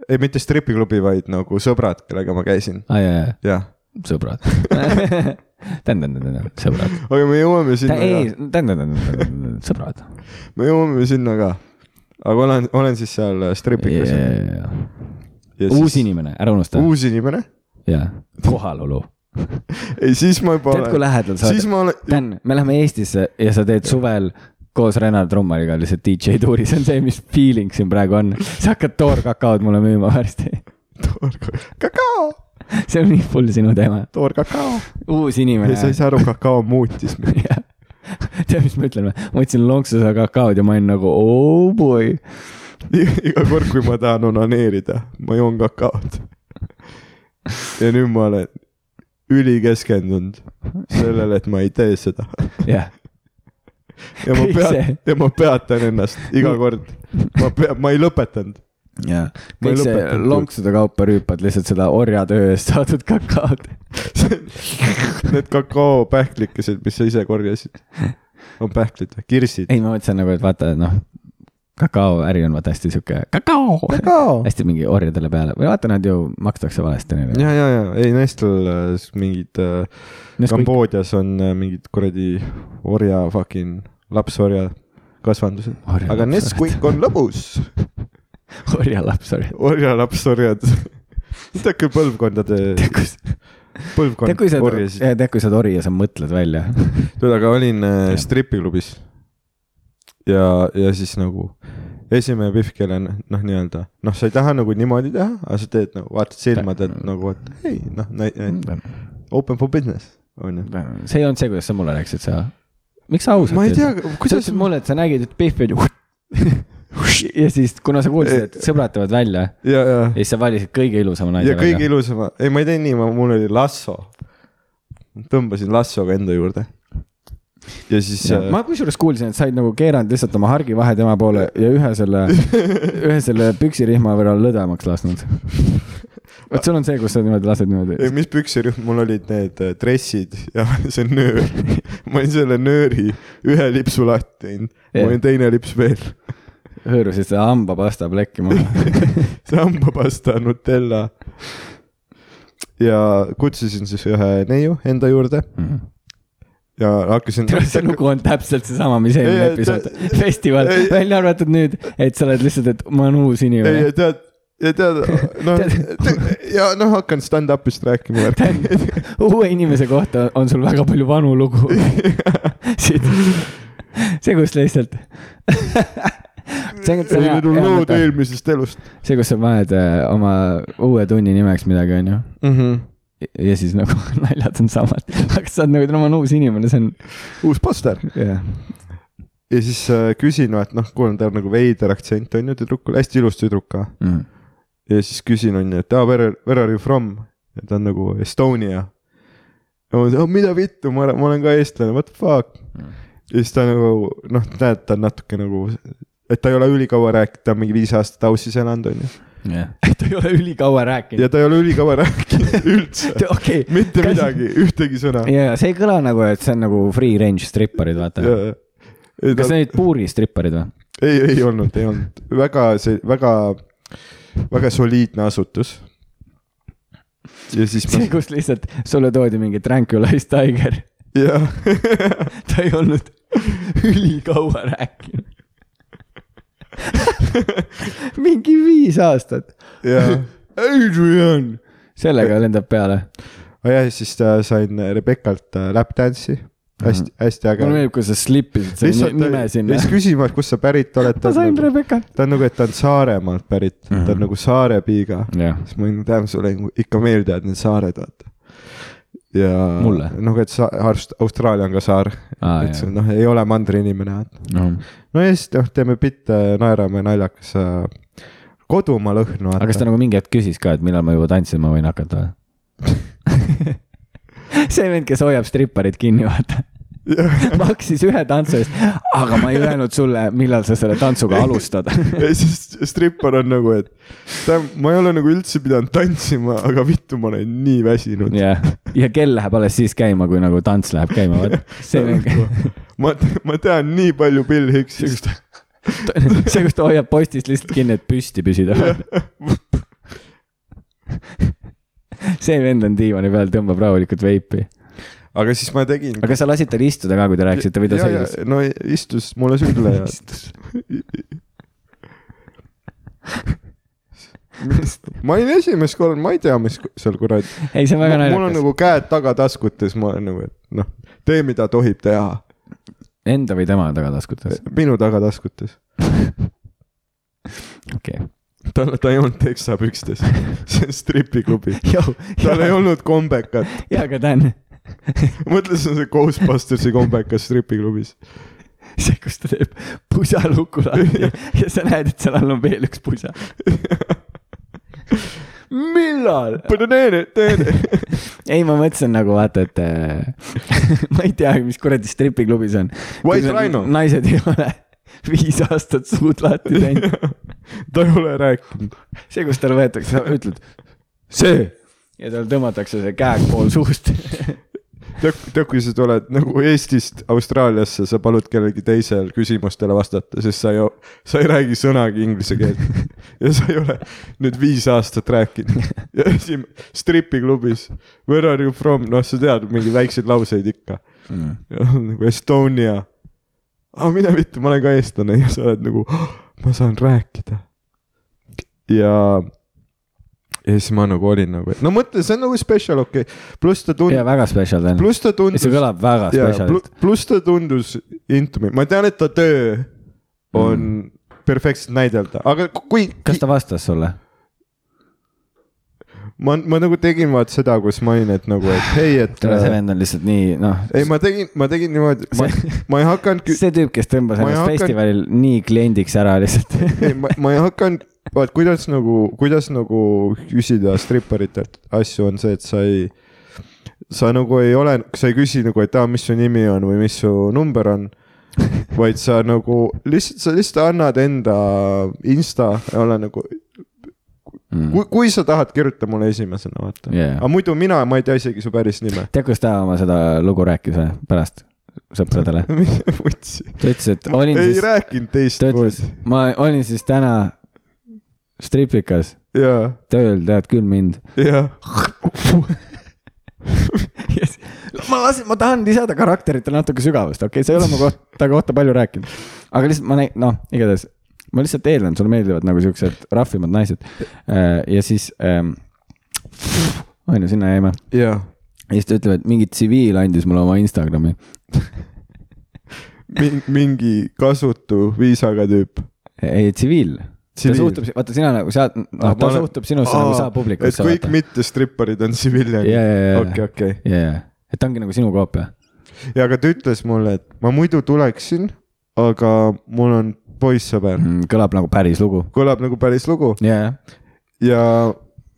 S2: ei , mitte stripiklubi , vaid nagu sõbrad , kellega ma käisin ,
S1: aa , jaa , jaa ,
S2: jah .
S1: sõbrad . tähendab , sõbrad .
S2: aga me jõuame
S1: Ta,
S2: sinna
S1: ei
S2: ka ,,
S1: tähendab , sõbrad .
S2: me jõuame sinna ka . aga olen , olen siis seal äh, stripikas yeah. .
S1: uus inimene , ära unusta .
S2: uus inimene ,
S1: jaa , kohalolu .
S2: ei siis ma juba
S1: tead , kui
S2: olen ,
S1: lähedal sa
S2: siis
S1: oled .
S2: ma olen ,
S1: Dan , me läheme Eestisse ja sa teed suvel koos Renar Trummariga lihtsalt DJ tuuri , see on see , mis feeling siin praegu on . sa hakkad toorkakaod mulle müüma varsti .
S2: kakao ,
S1: see on nii full sinu teema .
S2: toorkakao .
S1: uus
S2: ei , sa
S1: inimene
S2: ei . saa aru , kakao muutis mind .
S1: tead , mis ma ütlen või ? ma võtsin lonksu seda kakaod ja ma olin nagu oh boy .
S2: iga kord , kui ma tahan onaneerida , ma joon kakaot . ja nüüd ma olen ülikeskendunud sellele , et ma ei tee seda .
S1: jah ,
S2: ja ma
S1: Kõik see.
S2: pean , ja ma peatan ennast iga kord . ma pean , ma ei lõpetanud .
S1: jah .
S2: Ma ei
S1: kõik see
S2: lõpetanud.
S1: lonksude kaupa rüüpad lihtsalt seda orjatöö eest saadud kakaod .
S2: Need kakaopähklikesed , mis sa ise korjasid , on pähklid või , kirsid ?
S1: ei , ma mõtlesin nagu , et vaata , noh , kakaoäri on vaata hästi sihuke kakao .
S2: kakao .
S1: hästi mingi orjadele peale või vaata , nad ju makstakse valesti neile .
S2: ja , ja , ja ei naistel äh, mingid äh, , Kamboodias on äh, mingid kuradi orja fucking , lapsorja kasvandused .
S1: Orja
S2: aga
S1: lapsorjad.
S2: Nesquik on lõbus .
S1: orjalaps oli .
S2: orja lapsorjad . tead kui põlvkondade ,
S1: tead , kus , tead , kui sa
S2: põlvkond , orjasid .
S1: tead , kui sa oled ori ja sa mõtled välja .
S2: tead , aga olin äh,
S1: Jah.
S2: stripiklubis . ja , ja siis nagu esimene pihv , kelle n- noh , nii-öelda , noh , sa ei taha nagu niimoodi teha , aga sa teed nagu vaatad silmad , et nagu , et ei noh , open for business , onju .
S1: see ei olnud see , kuidas sa mulle rääkisid , sa , miks sa ausalt
S2: ma ei tea ,
S1: sa
S2: kuidas
S1: ütlesid mulle , et sa nägid , et Pihv oli ja siis , kuna sa kuulsid , et sõbrad tulevad välja
S2: ja , ja
S1: ja siis sa valisid kõige ilusama naise
S2: ja kõige . ilusama , ei , ma ei tee nii , ma , mul oli lasso . tõmbasin lassoga enda juurde . ja siis äh, ja,
S1: ma
S2: ma...
S1: kusjuures kuulsin , et said nagu keeranud lihtsalt oma hargi vahe tema poole ja ühe selle , ühe selle püksirihma võrra lõdvemaks lasknud . vot sul on see , kus sa niimoodi lased
S2: ei ,
S1: niimoodi .
S2: mis püksirühm , mul olid need äh, dressid ja see nöör . ma olin selle nööri ühe lipsu lahti teinud ,
S1: Jah.
S2: mul oli teine lips veel .
S1: hõõrusid seda hambapasta plekki maha .
S2: see hambapasta , Nutella . ja kutsusin siis ühe neiu enda juurde ja hakkasin .
S1: tead , see lugu on täpselt seesama , mis
S2: Ei,
S1: eelmine
S2: ei,
S1: episood
S2: ta- ,
S1: festival
S2: ei. ,
S1: välja arvatud nüüd , et sa oled lihtsalt , et ma olen uus
S2: ei ,
S1: inimene
S2: ja . tead , ja tead , noh
S1: Tead- ,
S2: ja noh , hakkan stand-up'ist rääkima .
S1: uue inimese kohta on sul väga palju vanu lugu siit , see , kus lihtsalt see on- see on hea-
S2: Need on
S1: hea
S2: nagu lood
S1: mõte.
S2: eelmisest elust
S1: see , kus sa paned äh, oma uue tunni nimeks midagi , onju .
S2: mm .
S1: Mhm.
S2: -hmm.
S1: ja siis nagu naljad on samad , aga sa oled nagu , no ma olen uus inimene , see on ,
S2: uus poster .
S1: jah .
S2: ja siis äh, küsin , et noh , kuule , tal on nagu veider aktsent on ju tüdrukul , hästi ilus tüdruk ka .
S1: Mm.
S2: ja siis küsin on ju , et aa , where , where are you from ? ja ta on nagu Estonia . ja ma ütlen , oh mida vittu , ma olen , ma olen ka eestlane , what the fuck .
S1: Mm.
S2: ja siis ta nagu noh , näed , ta on natuke nagu , et ta ei ole ülikaua rääkinud , ta on mingi viis aastat Aussis elanud on ju .
S1: ta ei ole ülikaua
S2: ja
S1: rääkinud .
S2: ta ei ole ülikaua rääkinud üldse ,
S1: okei .
S2: mitte midagi , ühtegi sõna .
S1: ja , see ei kõla nagu , et see on nagu free range stripparid , vaata . kas need olid puuri stripparid või ?
S2: ei , ei olnud , ei olnud , väga see , väga , väga soliidne asutus . ja siis ma
S1: see , kus lihtsalt sulle toodi mingi Tranquilize Tiger ,
S2: jah ,
S1: ta ei olnud ülikaua rääkinud . mingi viis aastat .
S2: jah .
S1: Adrian . sellega lendab peale .
S2: ja Ah, siis ta- sain Rebekalt äh,
S1: Mhm.
S2: lapdance'i , hästi , hästi äge
S1: mulle . meeldib , kui sa slippisid selle
S2: lihtsalt äh,
S1: ni- nime
S2: ja
S1: sinna
S2: siis . küsima , et kust sa pärit oled .
S1: ma sain Rebecca't .
S2: ta on nagu , et ta on Saaremaalt pärit mm , -hmm. ta
S1: Mhm.
S2: on nagu saare piiga .
S1: jah ,
S2: siis ma olin , tähendab , sulle nagu ikka meeldivad need saared , vaata . ja .
S1: Mulle?
S2: noh , et sa , Austraalia on ka saar
S1: Aa,
S2: ah, , et
S1: jah.
S2: see noh , ei ole mandriinimene , vaata .
S1: noh .
S2: no ja siis noh , teeme bitte , naerame naljakas äh, kodumaa lõhnu .
S1: aga kas ta nagu mingi hetk küsis ka , et millal ma juba tantsima võin hakata või ? see vend , kes hoiab stripparid kinni , vaata . maksis ühe tantsu eest , aga ma ei öelnud sulle , millal sa selle tantsuga alustad .
S2: ja siis strippar on nagu , et ta , ma ei ole nagu üldse pidanud tantsima , aga vittu , ma olen nii väsinud .
S1: jah , ja kell läheb alles siis käima , kui nagu tants läheb käima , vaata . see
S2: Nagu
S1: vend ,
S2: ma , ma tean nii palju Bill Hicksist .
S1: see , kus ta hoiab postist lihtsalt kinni , et püsti püsida . see vend on diivani peal , tõmbab rahulikult veipi .
S2: aga siis ma tegin .
S1: aga sa lasid tal istuda ka , kui te rääkisite või ta sõidus ?
S2: no istus mulle sülle ja . ma olin esimest korda , ma ei tea , mis seal kuradi
S1: ei , see on väga
S2: mul on
S1: naljakas .
S2: nagu käed tagataskutes , ma olen nagu , et noh , tee , mida tohib teha , nagu-
S1: Enda või tema tagataskutes ?
S2: minu tagataskutes .
S1: okei .
S2: tal , ta ei olnud teksapükstes , see on stripiklubi . tal ei olnud kombekat ,
S1: jaa , aga ta on
S2: mõtle , see on see Ghostbustersi kombekas stripiklubis .
S1: see , kus ta teeb pusa luku lahti ja sa näed , et seal all on veel üks pusa . millal ?
S2: teene , teene .
S1: ei , ma mõtlesin nagu vaata , et äh, ma ei teagi , mis kuradi stripiklubis on .
S2: White Rhino.
S1: naised ei ole viis aastat suud lahti teinud .
S2: ta ei ole rääkinud .
S1: see , kus tal võetakse , sa ütled , see ja tal tõmmatakse see käeg pool suust .
S2: tead , tead , kui sa tuled nagu Eestist Austraaliasse , sa palud kellelgi teisel küsimustele vastata , sest sa ei , sa ei räägi sõnagi inglise keelt . ja sa ei ole nüüd viis aastat rääkinud . ja esim- , stripiklubis , where are you from , noh , sa tead mingeid väikseid lauseid ikka . nagu Estonia . aa , mine vittu , ma olen ka eestlane ja sa oled nagu , ma saan rääkida . ja , ja siis ma nagu olin nagu , et no mõtle , see on nagu special , okei okay. , pluss ta tundis
S1: ja väga spetsial ta on .
S2: pluss ta tundus
S1: see , kõlab väga spetsialilt .
S2: pluss ta tundus intumine , ma tean , et ta töö on mm. perfektselt näidelda , aga ku- kui
S1: kas ta vastas sulle ?
S2: ma , ma nagu tegin vaat seda , kus ma olin , et nagu , et hei , et
S1: tere , see
S2: äh,
S1: vend on lihtsalt nii , noh .
S2: ei , ma tegin , ma tegin niimoodi , ma , ma ei hakanud ,
S1: see tüüp , kes tõmbas
S2: Ma ei
S1: ennast
S2: hakanud-
S1: festivalil nii kliendiks ära lihtsalt .
S2: ei , ma , ma ei hakanud , vaat kuidas nagu , kuidas nagu küsida stripparitelt asju on see , et sa ei , sa nagu ei ole , sa ei küsi nagu , et aa , mis su nimi on või mis su number on , vaid sa nagu lihtsalt , sa lihtsalt annad enda insta , ole nagu
S1: mm. .
S2: kui , kui sa tahad , kirjuta mulle esimesena , vaata
S1: Jaa.
S2: aga muidu mina , ma ei tea isegi su päris nime .
S1: tead , kuidas ta oma seda lugu rääkis või , pärast sõpradele ?
S2: vutsi .
S1: ta ütles , et
S2: ma
S1: olin
S2: ei
S1: siis ,
S2: rääkinud
S1: ta ütles
S2: teistmoodi .,
S1: ma olin siis täna stripikas
S2: jaa ,
S1: tööl , tead küll mind .
S2: jaa .
S1: ma lasen , ma tahan lisada karakteritele natuke sügavust , okei okay, , sa ei ole mu kohta , kohta palju rääkinud . aga lihtsalt ma näin , noh , igatahes ma lihtsalt eeldan , sulle meeldivad nagu siuksed rahvimad naised . ja siis ähm, , on ju , sinna jäime .
S2: jaa .
S1: ja siis ta ütleb , et mingi tsiviil andis mulle oma Instagrami .
S2: mingi kasutu viisaga tüüp .
S1: ei , tsiviil . ta
S2: Tsiviil.
S1: suhtub , vaata sina nagu sa ,
S2: Ah,
S1: noh , ta
S2: ma olen-
S1: suhtub sinusse nagu sa
S2: et
S1: publikusse .
S2: kõik mittestripparid on tsiviljad
S1: Jaa, jaa, jaa.
S2: okei , okei .
S1: jajah , et ta ongi nagu sinu koopia .
S2: ja aga ta ütles mulle , et ma muidu tuleksin , aga mul on poissõber mm. ,
S1: kõlab nagu päris lugu .
S2: kõlab nagu päris lugu
S1: jajah ,
S2: ja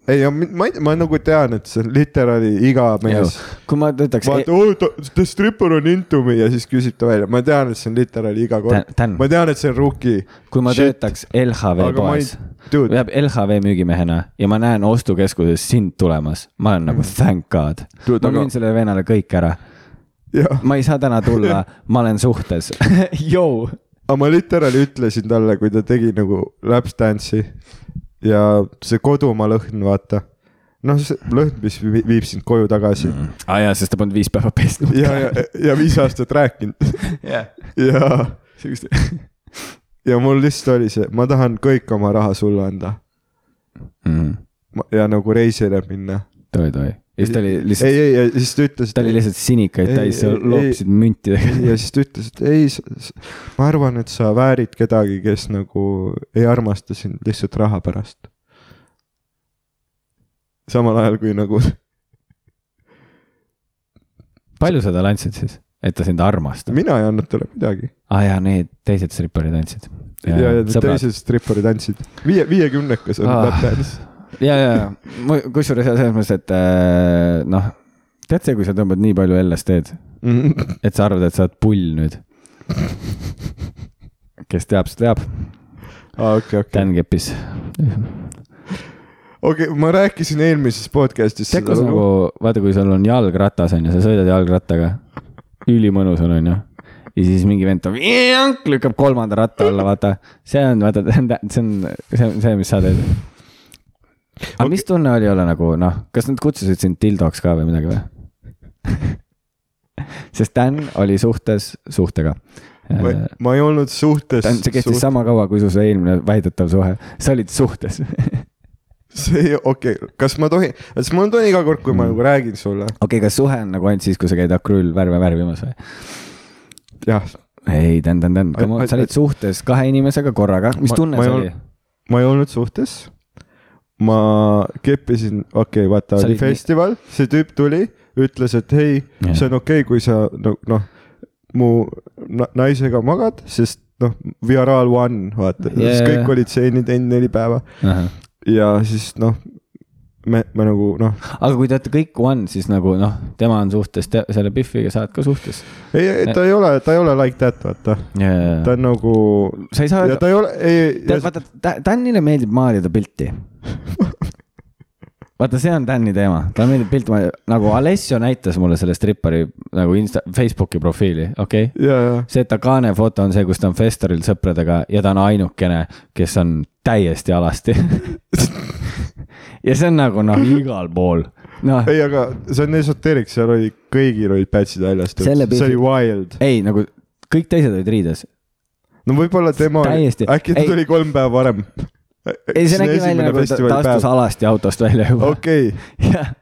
S2: ei , ma ei , ma nagu tean , et see on literaali iga mees .
S1: nagu, kui ma e- ütleks ,
S2: vaata , oo , ta strippur on into me ja siis küsib ta välja , ma tean , et see on literaali iga kord
S1: Tän- tän- .
S2: ma tean , et see on rookie .
S1: kui ma Shit. töötaks LHV
S2: Aga ma ei-
S1: poes ,
S2: dude.
S1: jääb LHV müügimehena ja ma näen ostukeskuses sind tulemas , ma olen nagu thank god .
S2: Dude,
S1: ma
S2: Mm. aga-
S1: müün sellele venele kõik ära .
S2: jah ,
S1: ma ei saa täna tulla , ma olen suhtes . Jou ,
S2: aga ma literaali ütlesin talle , kui ta tegi nagu laps dance'i ja see kodumaa lõhn , vaata . noh , see lõhn , mis vi- viib sind koju tagasi mm.
S1: aa Ah, jaa , sest ta polnud viis päeva pesnud .
S2: ja , ja , ja viis aastat rääkinud
S1: jah ,
S2: ja ,
S1: siukest .
S2: ja mul lihtsalt oli see , ma tahan kõik oma raha sulle anda Ma- ja nagu reisile minna .
S1: Mm. toi , toi . ja siis ta oli
S2: ei ,
S1: lihtsalt ,
S2: ei , ja siis ta ütles ,
S1: ta oli lihtsalt sinikaid
S2: Ei,
S1: täis ,
S2: ei,
S1: loopisid müntidega .
S2: ja siis ta ütles , et ei , ma arvan , et sa väärid kedagi , kes nagu ei armasta sind lihtsalt raha pärast . samal ajal kui nagu ,
S1: palju sa talle andsid siis , et ta sind armastab ?
S2: mina ei andnud talle midagi .
S1: aa Ah, jaa , need teised stripparid andsid .
S2: ja , ja need teised stripparid andsid . viie , viiekümnekas on
S1: Ah.
S2: täpselt .
S1: ja , ja , ja kusjuures jah , selles mõttes , et äh, noh , tead see , kui sa tõmbad nii palju LSD-d , et sa arvad , et sa oled pull nüüd . kes teab , see teab ,
S2: aa , Ah, okei , okei .
S1: tänkepis .
S2: okei , ma rääkisin eelmises podcast'is
S1: tead , kus nagu , vaata , kui sul on jalgratas on ju , sa sõidad jalgrattaga , ülimõnus on , on ju ja siis mingi vend tuleb , lükkab kolmanda ratta alla , vaata . see on , vaata , see on , see on , see on see , mis sa teed . aga okay. mis tunne oli olla nagu noh , kas nad kutsusid sind dildoks ka või midagi või ? sest Dan oli suhtes suhtega .
S2: ma,
S1: Dan ,
S2: ma ei olnud suhtes .
S1: see kestis suht... sama kaua , kui su see eelmine väidetav suhe , sa olid suhtes .
S2: see , okei okay. , kas ma tohin , kas ma tohin iga kord , kui
S1: Mm.
S2: ma nagu räägin sulle ?
S1: okei , kas suhe on nagu ainult siis , kui sa käid akrüülvärve värvimas või ?
S2: jah .
S1: ei , Dan , Dan , Dan , come
S2: Ai-
S1: on , sa
S2: ai-
S1: olid suhtes kahe inimesega korraga , mis
S2: Ma-
S1: tunne
S2: ma ei
S1: see
S2: ol-
S1: oli ?
S2: ma ei olnud suhtes . ma keppisin , okei okay, , vaata
S1: Sa
S2: oli
S1: olid nii-
S2: festival , see tüüp tuli , ütles , et hei
S1: Jah.
S2: yeah. , see on okei okay, , kui sa no, noh , mu na- naisega magad , sest noh , we are all one , vaata
S1: Jaa,
S2: yeah. ,
S1: jaa,
S2: kõik
S1: jaa.
S2: olid seenid enne neli päeva ja siis noh , me , me nagu noh ,
S1: aga kui te olete kõik one , siis nagu noh , tema on suhtes , selle Biffiga sa oled ka suhtes .
S2: ei , ei ta ei ole , ta ei ole like that , vaata . ta
S1: sa
S2: on nagu ,
S1: ei saa
S2: ja
S1: öelda ,
S2: ta ei ole , ei ,
S1: tead , vaata , Danile meeldib maalida pilti . vaata , see on Dani teema , talle meeldib pilt , nagu Alessio näitas mulle selle strippari nagu insta , Facebooki profiili , okei okay?
S2: ja , ja
S1: see , et ta kaane foto on see , kus ta on Festoril sõpradega ja ta on ainukene , kes on täiesti alasti . ja see on nagu noh , igal pool , noh ,
S2: ei , aga see on esoteerik , seal oli , kõigil olid pätsid väljas , see
S1: Selle
S2: oli
S1: pildi-
S2: wild .
S1: ei nagu kõik teised olid riides .
S2: no võib-olla tema oli ,
S1: Täiesti.
S2: äkki ta
S1: Ei.
S2: tuli kolm päeva varem .
S1: ei , see nägi välja nagu ta, ta astus . alasti autost välja juba okay. .
S2: okei ,
S1: jah ,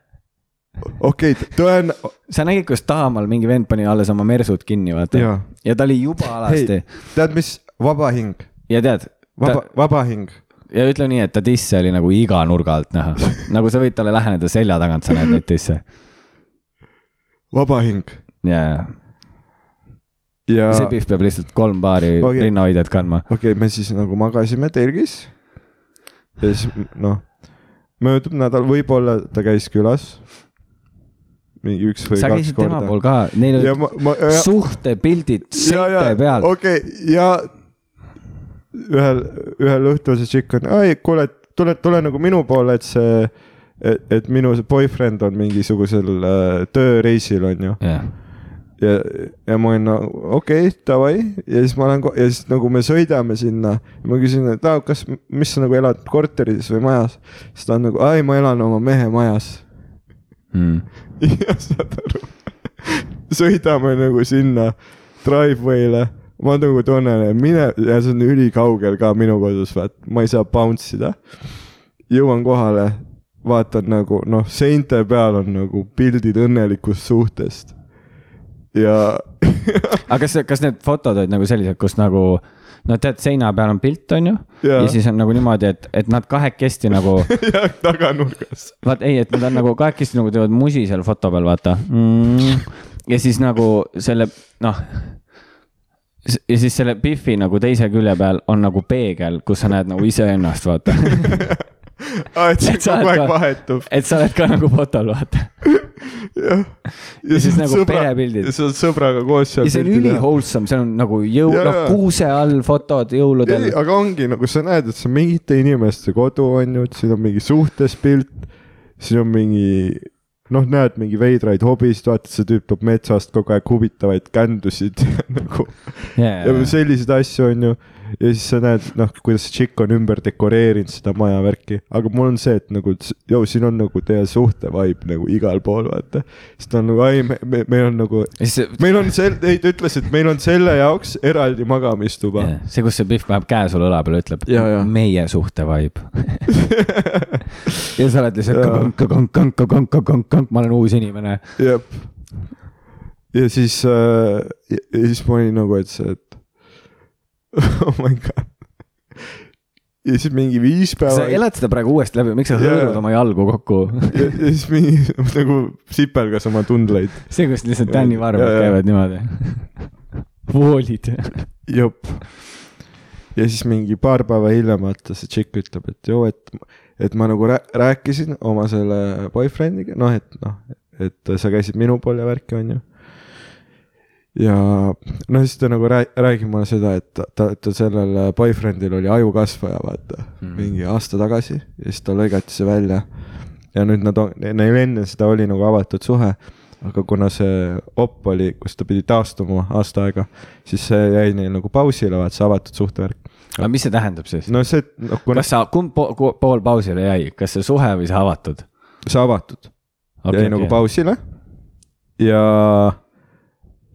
S2: okei , tõen- ,
S1: sa nägid , kus Taamal mingi vend pani alles oma mersud kinni , vaata
S2: Jaa.
S1: ja ta oli juba alasti
S2: hei , tead mis , vaba hing ,
S1: ja tead .
S2: vaba , vaba hing .
S1: ja ütle nii , et ta disse oli nagu iga nurga alt näha , nagu sa võid talle läheneda selja tagant , sa näed neid disse
S2: vaba hing
S1: ja , ja
S2: ja
S1: see Pihv peab lihtsalt kolm paari
S2: Okei.
S1: okay. rinnahoidjat kandma .
S2: okei , me siis nagu magasime telgis . ja siis noh , möödub nädal , võib-olla ta käis külas . mingi üks või
S1: sa
S2: kaks
S1: käisid tema
S2: korda
S1: pool . ka , neil
S2: ja
S1: olid
S2: ma , ma , ja
S1: suhtepildid seinte peal .
S2: okei okay, ja ühel , ühel õhtul see tšikk on , ai kuule , tule , tule nagu minu poole , et see , et , et minu see boyfriend on mingisugusel äh, tööreisil , on ju .
S1: jah ,
S2: ja , ja ma olin nagu no, okei okay, , davai ja siis ma olen ko- ja siis nagu me sõidame sinna . ma küsin , et aa , kas , mis sa nagu elad korteris või majas ? siis ta on nagu , ei , ma elan oma mehe majas .
S1: Hmm.
S2: ja saad aru , sõidame nagu sinna driveway'le , ma nagu tunnen , et mine ja see on ülikaugel ka minu kodus , vaat ma ei saa bounce ida . jõuan kohale , vaatan nagu noh , seinte peal on nagu pildid õnnelikust suhtest ja
S1: aga kas , kas need fotod olid nagu sellised , kus nagu no tead , seina peal on pilt , on ju ,
S2: Jaa.
S1: ja siis on nagu niimoodi , et , et nad kahekesti nagu
S2: ja taganurgas .
S1: vaat ei , et nad on nagu kahekesti nagu teevad musi seal foto peal , vaata mm. . ja siis nagu selle , noh . ja siis selle Biffi nagu teise külje peal on nagu peegel , kus sa näed nagu iseennast , vaata .
S2: aa , et see kogu aeg vahetub .
S1: et sa oled ka nagu fotol , vaata .
S2: jah .
S1: Ja siis nagu perepildid.
S2: sa oled sõbraga koos seal .
S1: ja see on üli . wholesome , seal on nagu jõu ,
S2: Jaa,
S1: noh
S2: jaa.
S1: kuuse all fotod jõuludel
S2: ei ,. aga ongi nagu sa näed , et see on mingite inimeste kodu on ju , et siin on mingi suhtespilt , siin on mingi noh , näed mingi veidraid hobisid , vaatad , see tüüp toob metsast kogu aeg huvitavaid kändusid nagu ja selliseid asju on ju . ja siis sa näed , noh , kuidas tšikk on ümber dekoreerinud seda maja värki , aga mul on see , et nagu , joo , siin on nagu teie suhte vibe nagu igal pool , vaata . siis ta on nagu , ei , me , me , meil on nagu ,
S1: see ,
S2: meil on sel- , ei , ta ütles , et meil on selle jaoks eraldi magamistuba .
S1: see , kus see Biff paneb käe sulle õla peale , ütleb
S2: Jaa, jaa.
S1: meie suhte vibe . ja sa oled lihtsalt
S2: Jaa.
S1: kank-kank-kank-kank-kank-kank-kank , ma olen uus inimene
S2: jah . ja siis äh, , ja ja siis ma olin nagu , et see , et oh my god . ja siis mingi viis päeva .
S1: sa elad seda praegu uuesti läbi , miks sa
S2: Jaa.
S1: hõõrud oma jalgu kokku ?
S2: ja, ja siis mingi nagu sipelgas oma tundleid .
S1: see , kus lihtsalt Tänni varvad
S2: Jaa, jaa.
S1: käivad niimoodi . voolid .
S2: jep . ja siis mingi paar päeva hiljem vaata see tšikk ütleb , et joo , et , et ma nagu rää- rääkisin oma selle boyfriend'iga , noh , et noh , et sa käisid minu pool ja värki , onju . ja no siis ta nagu rää- , räägib mulle seda , et ta- ta , ta sellel boyfriend'il oli ajukasvaja , vaata mm. , mingi aasta tagasi ja siis tal lõigati see välja . ja nüüd nad on , neil enne seda oli nagu avatud suhe aga kuna see op oli , kus ta pidi taastuma aasta aega , siis see jäi neil nagu pausile , vaat see avatud suhtevärk .
S1: aga mis see tähendab siis ?
S2: no see , noh kuna
S1: kas
S2: see,
S1: sa , kumb po- ku- pool pausile jäi , kas see suhe või see avatud ?
S2: see avatud okay, jäi okay. nagu pausile ja ,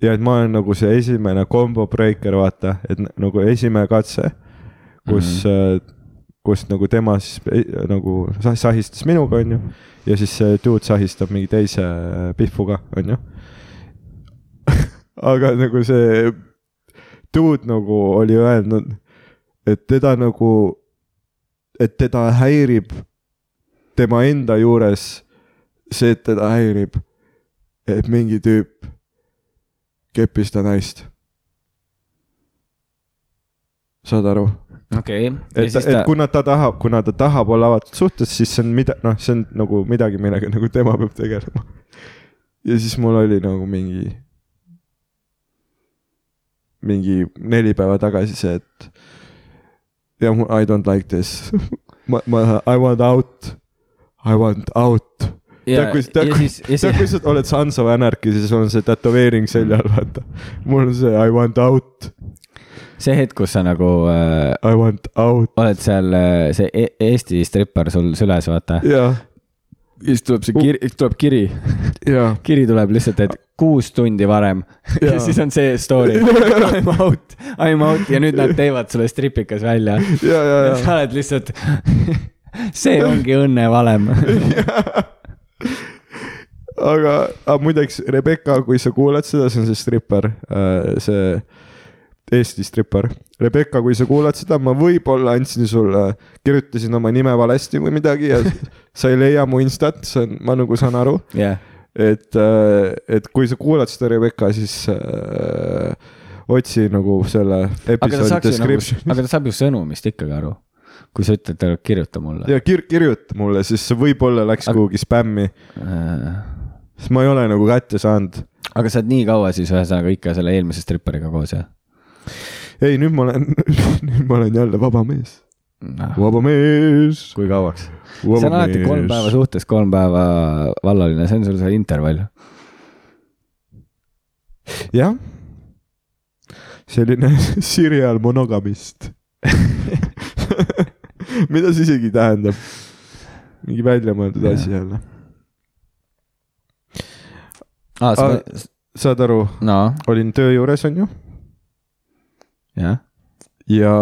S2: ja et ma olen nagu see esimene combo breaker , vaata , et n- nagu esimene katse , kus mm , -hmm. kus nagu tema siis eh, nagu sa- sahistas minuga , onju , ja siis see dude sahistab mingi teise äh, pihvuga , onju aga nagu see dude nagu oli öelnud , et teda nagu , et teda häirib tema enda juures see , et teda häirib , et mingi tüüp kepis ta naist . saad aru ?
S1: okei , ja
S2: et ,
S1: siis
S2: et
S1: ta ,
S2: kuna ta tahab , kuna ta tahab olla avatud suhtes , siis see on mida , noh , see on nagu midagi , millega nagu tema peab tegelema . ja siis mul oli nagu mingi , mingi neli päeva tagasi see , et yeah, mu- I don't like this . ma , ma , I want out , I want out .
S1: ja
S2: tead , kui ,
S1: ja
S2: tead , kui ,
S1: siis , ja
S2: tead , kui
S1: siis ,
S2: sa oled Sons of Anarchy , siis on see tätoveering seljal , vaata . mul on see I want out ,
S1: see hetk , kus sa nagu äh,
S2: I want out ,
S1: oled seal äh, see E- Eesti stripper sul süles , vaata .
S2: jah ,
S1: siis tuleb see kiri , tuleb kiri ,
S2: jah
S1: kiri tuleb lihtsalt , et kuus tundi varem ja,
S2: Jaa.
S1: ja siis on see story . I m out , I m out ja nüüd nad teevad sulle stripikas välja .
S2: ja , ja , ja .
S1: sa oled lihtsalt , see ongi õnnevalem .
S2: aga , aga muideks Rebecca , kui sa kuulad seda , see on see stripper , see Eesti stripper . Rebecca , kui sa kuulad seda , ma võib-olla andsin sulle , kirjutasin oma nime valesti või midagi ja sa ei leia mu instat , see on , ma nagu saan aru ,
S1: jah ,
S2: et , et kui sa kuulad seda Rebecca , siis äh, otsi nagu selle
S1: aga ta
S2: episoodi
S1: saaks ju nagu ,
S2: description'i .
S1: aga ta saab ju sõnumist ikkagi aru . kui sa ütled talle , kirjuta mulle .
S2: ja kir- , kirjuta mulle , siis see võib-olla läks
S1: Aga-
S2: kuhugi spämmi ,
S1: aga
S2: sest ma ei ole nagu kätte saanud
S1: sa oled nii kaua siis ühesõnaga ikka selle eelmise stripperiga koos jah ?
S2: ei , nüüd ma olen , nüüd ma olen jälle vaba mees . vaba mees ,
S1: kui kauaks ? see on
S2: vaba
S1: alati kolm päeva
S2: mees .
S1: suhtes , kolm päeva vallaline , see on sul see intervall .
S2: jah , selline serial monogamist . mida see isegi tähendab ? mingi väljamõeldud asi jälle .
S1: aa , sa
S2: Aga- , saad aru ,
S1: Ah, no
S2: olin töö juures , onju ,
S1: jah ,
S2: ja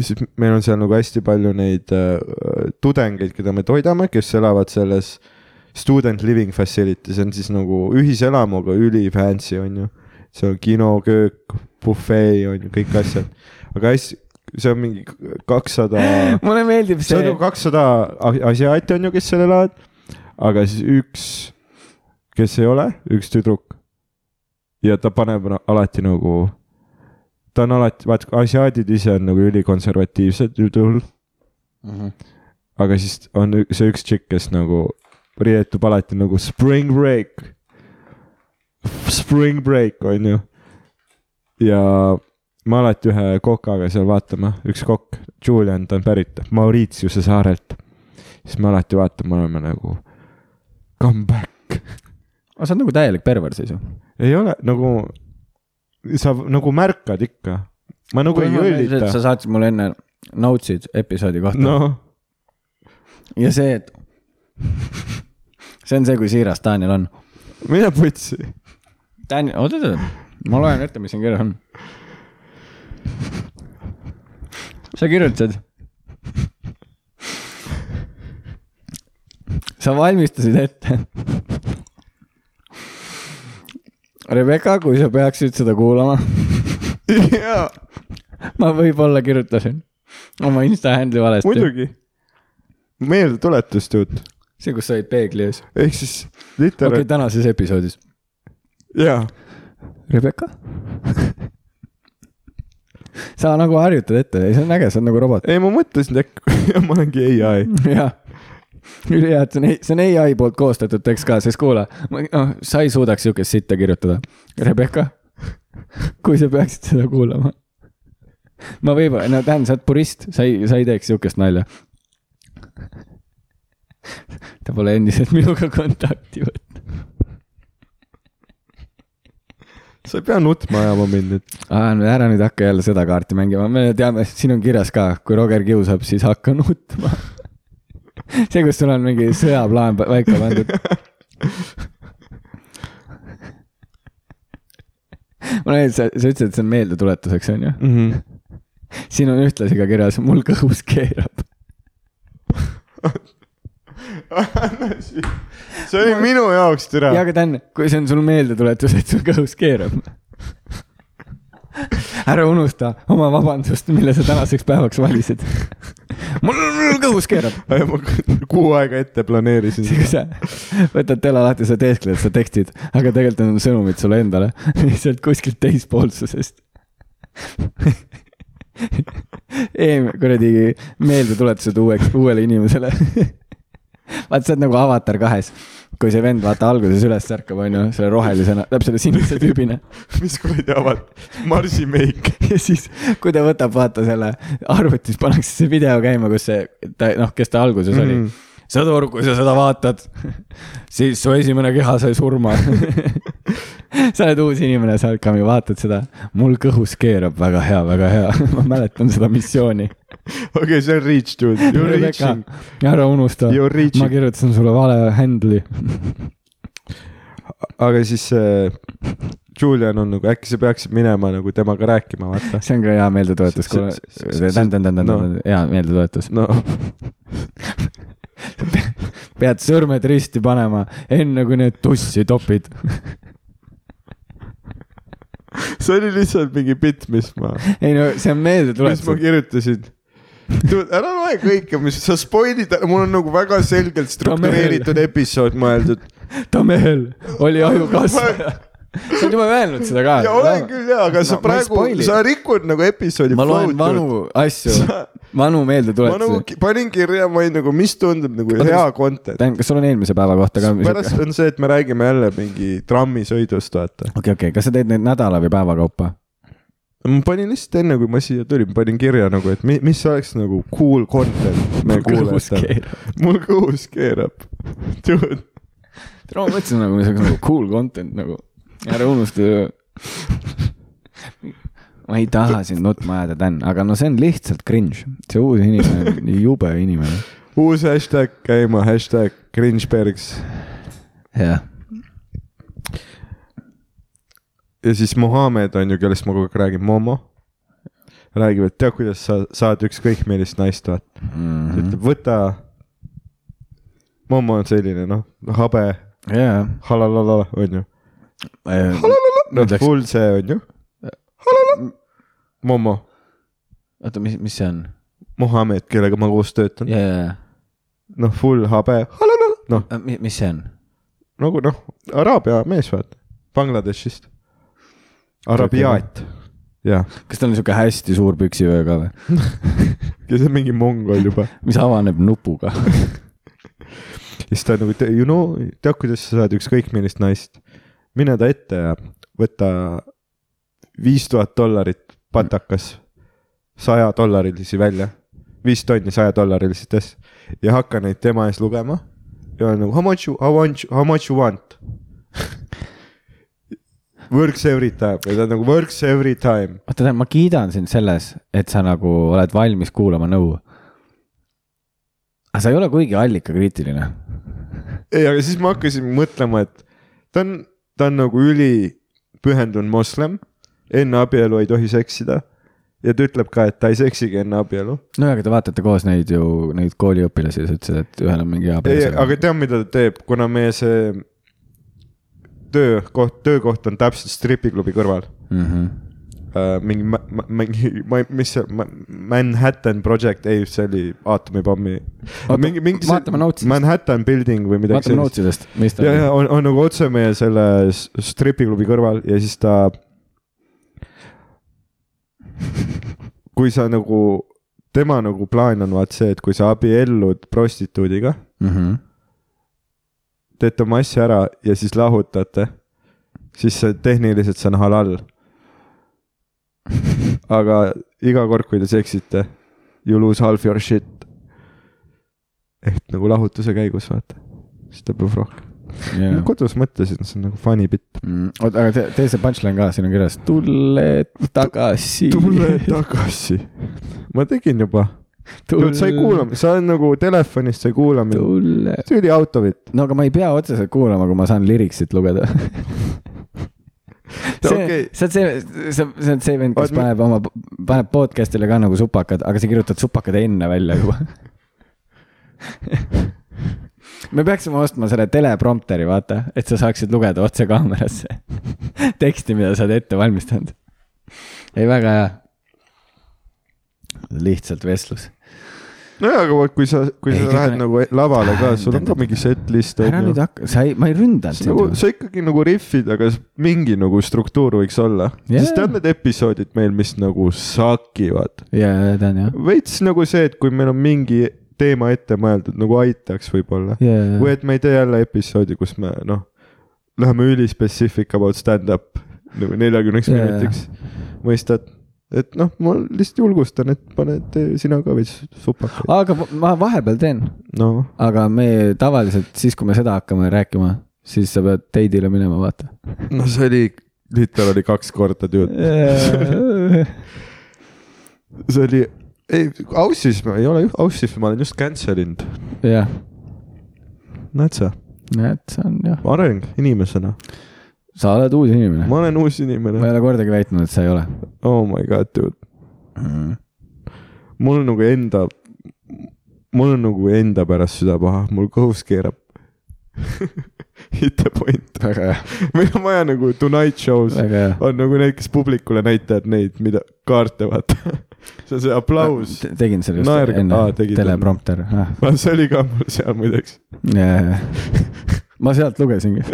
S2: siis meil on seal nagu hästi palju neid äh, tudengeid , keda me toidame , kes elavad selles student living facility , see on siis nagu ühiselamuga üli fancy , on ju . seal on kino , köök , bufee on ju , kõik asjad , aga hästi , see on mingi kakssada ,
S1: mulle meeldib
S2: see on
S1: see
S2: nagu , kakssada asiaati on ju , kes seal elavad . aga siis üks , kes ei ole , üks tüdruk ja ta paneb na- alati nagu , ta on alati , vaat asiaadid ise on nagu ülikonservatiivsed üldjuhul , aga siis on ü- see üks tšikk , kes nagu riietub alati nagu spring break . Spring break on ju . ja ma alati ühe kokaga seal vaatame , üks kokk , Julian , ta on pärit Mauritiuse saarelt . siis me alati vaatame , oleme nagu come back .
S1: sa oled nagu täielik pervers siis ju .
S2: ei ole nagu , sa nagu märkad ikka . ma nagu ei õllita .
S1: sa saatsid mulle enne notes'id episoodi kohta no.
S2: noh ,
S1: ja see , et see on see , kui siiras Daniel on .
S2: mine putsi .
S1: Daniel , oota , oota , ma loen ette , mis siin kirjas on . sa kirjutasid . sa valmistasid ette . Rebecca , kui sa peaksid seda kuulama ,
S2: jaa ,
S1: ma võib-olla kirjutasin oma insta handle'i valesti .
S2: muidugi . meeldetuletust jutt
S1: see , kus sa olid peegli ees .
S2: ehk siis
S1: okei
S2: literaat
S1: okay, , tänases episoodis .
S2: jaa .
S1: Rebecca ? sa nagu harjutad ette , see on äge , sa oled nagu robot .
S2: ei , ma mõtlesin , et ma olengi ai .
S1: jah , ülihea , et see on , see on ai poolt koostatud tekst ka , sest kuule , noh , sa ei suudaks siukest sitta kirjutada . Rebecca , kui sa peaksid seda kuulama . ma võib-olla , no tähendab , sa oled purist , sa ei , sa ei teeks siukest nalja . ta pole endiselt minuga kontakti võtnud .
S2: sa ei pea nutma ajama mind nüüd .
S1: ära nüüd hakka jälle seda kaarti mängima , me teame , siin on kirjas ka , kui Roger kiusab , siis hakka nutma . see , kus sul on mingi sõjaplaan pa- paika pandud . ma näen , sa , sa ütlesid , et see on meeldetuletuseks , onju . siin on ühtlasi ka kirjas , mul kõhus keerab .
S2: see oli minu jaoks türa
S1: ja , aga Dan , kui see on sul meeldetuletus , et sul kõhus keerab . ära unusta oma vabandust , mille sa tänaseks päevaks valisid . mul , mul kõhus keerab .
S2: ma kuu aega ette planeerisin
S1: see , kui
S2: seda .
S1: sa võtad tele lahti , sa teeskled , sa tekstid , aga tegelikult need on sõnumid sulle endale , lihtsalt kuskilt teispoolsusest . Eem- , kuradi meeldetuletused uueks , uuele inimesele . vaat sa oled nagu avatar kahes , kui see vend vaata alguses üles ärkab , onju , selle rohelisena , läheb selle sinise tüübina
S2: mis kuradi avad , Marsi meik .
S1: ja siis , kui ta võtab , vaata selle arvutis pannakse see video käima , kus see , ta noh , kes ta alguses mm.
S2: Mhm.
S1: oli . sõdur , kui sa seda vaatad , siis su esimene keha sai surma . sa oled uus inimene , sa oled Kami , vaatad seda , mul kõhus keerab , väga hea , väga hea , ma mäletan seda missiooni .
S2: okei , see on reach dude , you are reaching ,
S1: ära unusta ,
S2: you are
S1: ma
S2: reaching .
S1: kirjutasin sulle vale handle'i .
S2: aga siis see Julian on nagu , äkki sa peaksid minema nagu temaga rääkima , vaata .
S1: see on ka hea meeldetuletus , kuule
S2: See- see- see- , no.
S1: hea meeldetuletus .
S2: no
S1: pead sõrmed risti panema , enne kui need tussi topid .
S2: see oli lihtsalt mingi bitt , mis ma ,
S1: ei no see on
S2: mis ma
S1: meeldetuletus .
S2: kirjutasin . ära loe kõike , mis sa spoilid , mul on nagu väga selgelt struktureeritud episood mõeldud .
S1: ta mehel oli ajukasvaja . sa oled juba öelnud seda ka .
S2: ja olen küll jaa , aga sa
S1: No ma ei
S2: praegu ,
S1: spoili.
S2: sa rikud nagu episoodi .
S1: ma loen vanu asju , vanu
S2: ma nagu
S1: meeldetuletusi .
S2: ki- panin kirja , ma olin nagu , mis tundub nagu
S1: Oota,
S2: hea content .
S1: tähendab , kas sul on eelmise päeva kohta ka ?
S2: pärast
S1: okei ,
S2: on see , et me räägime jälle mingi trammisõidust , vaata .
S1: okei , kas sa teed neid nädala või päeva kaupa ?
S2: ma panin lihtsalt enne , kui ma siia tulin , panin kirja nagu , et mi, mis oleks nagu cool content meie kuulajatele . mul kõhus keerab .
S1: ma mõtlesin nagu , see oleks nagu cool content nagu , ära unusta . ma ei taha sind nutma ajada , Dan , aga no see on lihtsalt cringe , see uus inimene on nii jube inimene .
S2: uus hashtag käima , hashtag cringebergs
S1: jah ,
S2: ja siis Muhamed on ju , kellest ma kogu aeg räägin , Momo . räägib , et tead , kuidas sa saad ükskõik millist naist vaata mm. , ütleb võta . Momo on selline noh , habe ,
S1: jaa .
S2: halalala on ju , noh
S1: oota ,
S2: full see on ju , Momo ,
S1: mis , mis see on ?
S2: Muhamed , kellega ma koos töötan ,
S1: jaa , jaa ,
S2: noh full habe , halalala , noh
S1: jaa . mis see on ?
S2: nagu noh , araabia mees vaata , Bangladeshist , arabiaat , jah ,
S1: kas tal on sihuke hästi suur püksivöö ka või ,
S2: ja see on mingi mongol juba
S1: mis avaneb nupuga ?
S2: ja siis ta nagu , you know , tead , kuidas sa saad ükskõik millist naist , mine ta ette ja võta viis tuhat dollarit patakas , saja dollarilisi välja , viis tonni saja dollarilisites ja hakka neid tema ees lugema ja on nagu how much you , how much , how much you want . Works every time ja ta on nagu works every time ,
S1: oota , Dan , ma kiidan sind selles , et sa nagu oled valmis kuulama nõu . aga sa ei ole kuigi allikakriitiline .
S2: ei , aga siis ma hakkasin mõtlema , et ta on , ta on nagu ülipühendunud moslem , enne abielu ei tohi seksida . ja ta ütleb ka , et ta ei seksigi enne abielu .
S1: nojah , aga te vaatate koos neid ju , neid kooliõpilasi ja sa ütlesid , et ühel on mingi hea
S2: ei ,
S1: peas .
S2: aga tead , mida ta teeb , kuna meie see töökoht , töökoht on täpselt stripiklubi kõrval
S1: mm . -hmm.
S2: uh, . mingi , mingi , mis see , Manhattan Project , ei , see oli aatomipommi .
S1: Vaata- vaatame notes'ist.
S2: Manhattan Building või midagi
S1: vaatame nootsidest , mis ta
S2: ja , ja . on , on nagu otse meie selle s- stripiklubi kõrval ja siis ta . kui sa nagu , tema nagu plaan on vaat see , et kui sa abiellud prostituudiga ,
S1: Mm -hmm.
S2: teete oma asja ära ja siis lahutate , siis see tehniliselt see on halal . aga iga kord , kui te seksite , you lose half your shit . ehk nagu lahutuse käigus vaata , siis ta peab rohkem .
S1: yeah.
S2: kodus mõtlesin , see on nagu funny bitt .
S1: mm, . oota , aga tee , tee see punchline ka , siin on kirjas tule tagasi .
S2: tule tagasi . ma tegin juba . sa ei kuula , sa oled nagu telefonist , sa ei kuula mind .
S1: tule .
S2: see oli auto bitt .
S1: no aga ma ei pea otseselt kuulama , kui ma saan liriksit lugeda . see okay.
S2: okei. ,
S1: see on see , see on , see on see vend , kes
S2: Oot, ma-
S1: paneb oma , paneb podcast'ile ka nagu supakad , aga sa kirjutad supakad enne välja juba me peaksime ostma selle teleprompteri , vaata , et sa saaksid lugeda otse kaamerasse teksti , mida sa oled ette valmistanud . ei , väga hea . lihtsalt vestlus .
S2: nojah , aga vaat kui sa , kui
S1: Ei,
S2: sa
S1: kõik
S2: lähed
S1: on-
S2: nagu lavale ka , sul on ka mingi set list
S1: ära
S2: on
S1: nüüd
S2: ju .
S1: hakka , sa ei , ma ei ründanud
S2: sa nagu ,
S1: sind .
S2: sa ikkagi nagu riffid , aga s- mingi nagu struktuur võiks olla
S1: Jaa.
S2: yeah. . sest tead need episoodid meil , mis nagu sakivad .
S1: ja , ja , ta on jah .
S2: veits nagu see , et kui meil on mingi teema ette mõeldud , nagu aitaks võib-olla .
S1: ja , ja ,
S2: või
S1: ja ,
S2: et me ei tee jälle episoodi , kus me noh , läheme ülispetsiifik about stand-up nagu neljakümneks
S1: Jaa,
S2: yeah.
S1: jaa.
S2: minutiks . mõistad , et noh , ma lihtsalt julgustan , et pane tee sina ka veits supakaid .
S1: aga ma vahepeal teen
S2: no
S1: aga me tavaliselt siis , kui me seda hakkame rääkima , siis sa pead date'ile minema , vaata .
S2: no see oli , Littal oli kaks korda tüüd . see oli , ei , Aussis ma ei ole , Aussis ma olen just cancel inud .
S1: jah ,
S2: näed sa ,
S1: näed , see on jah ,
S2: areng inimesena .
S1: sa oled uus inimene .
S2: ma olen uus
S1: ma
S2: inimene .
S1: ei ole kordagi väitnud , et sa ei ole
S2: Oh my god , tüüd .
S1: mm. .
S2: mul nagu enda , mul on nagu enda pärast süda paha , mul kõhus keerab . Hit the point ,
S1: väga hea ,
S2: meil on vaja nagu Tonight Show's
S1: väga hea .
S2: on nagu need , kes publikule näitavad neid , mida kaarte vaata . see on see aplaus .
S1: tegin selle just
S2: Naer-
S1: Naerga. enne
S2: aa, , tegid
S1: teleprompter ah. .
S2: no see oli ka mul seal muideks .
S1: ma sealt lugesingi .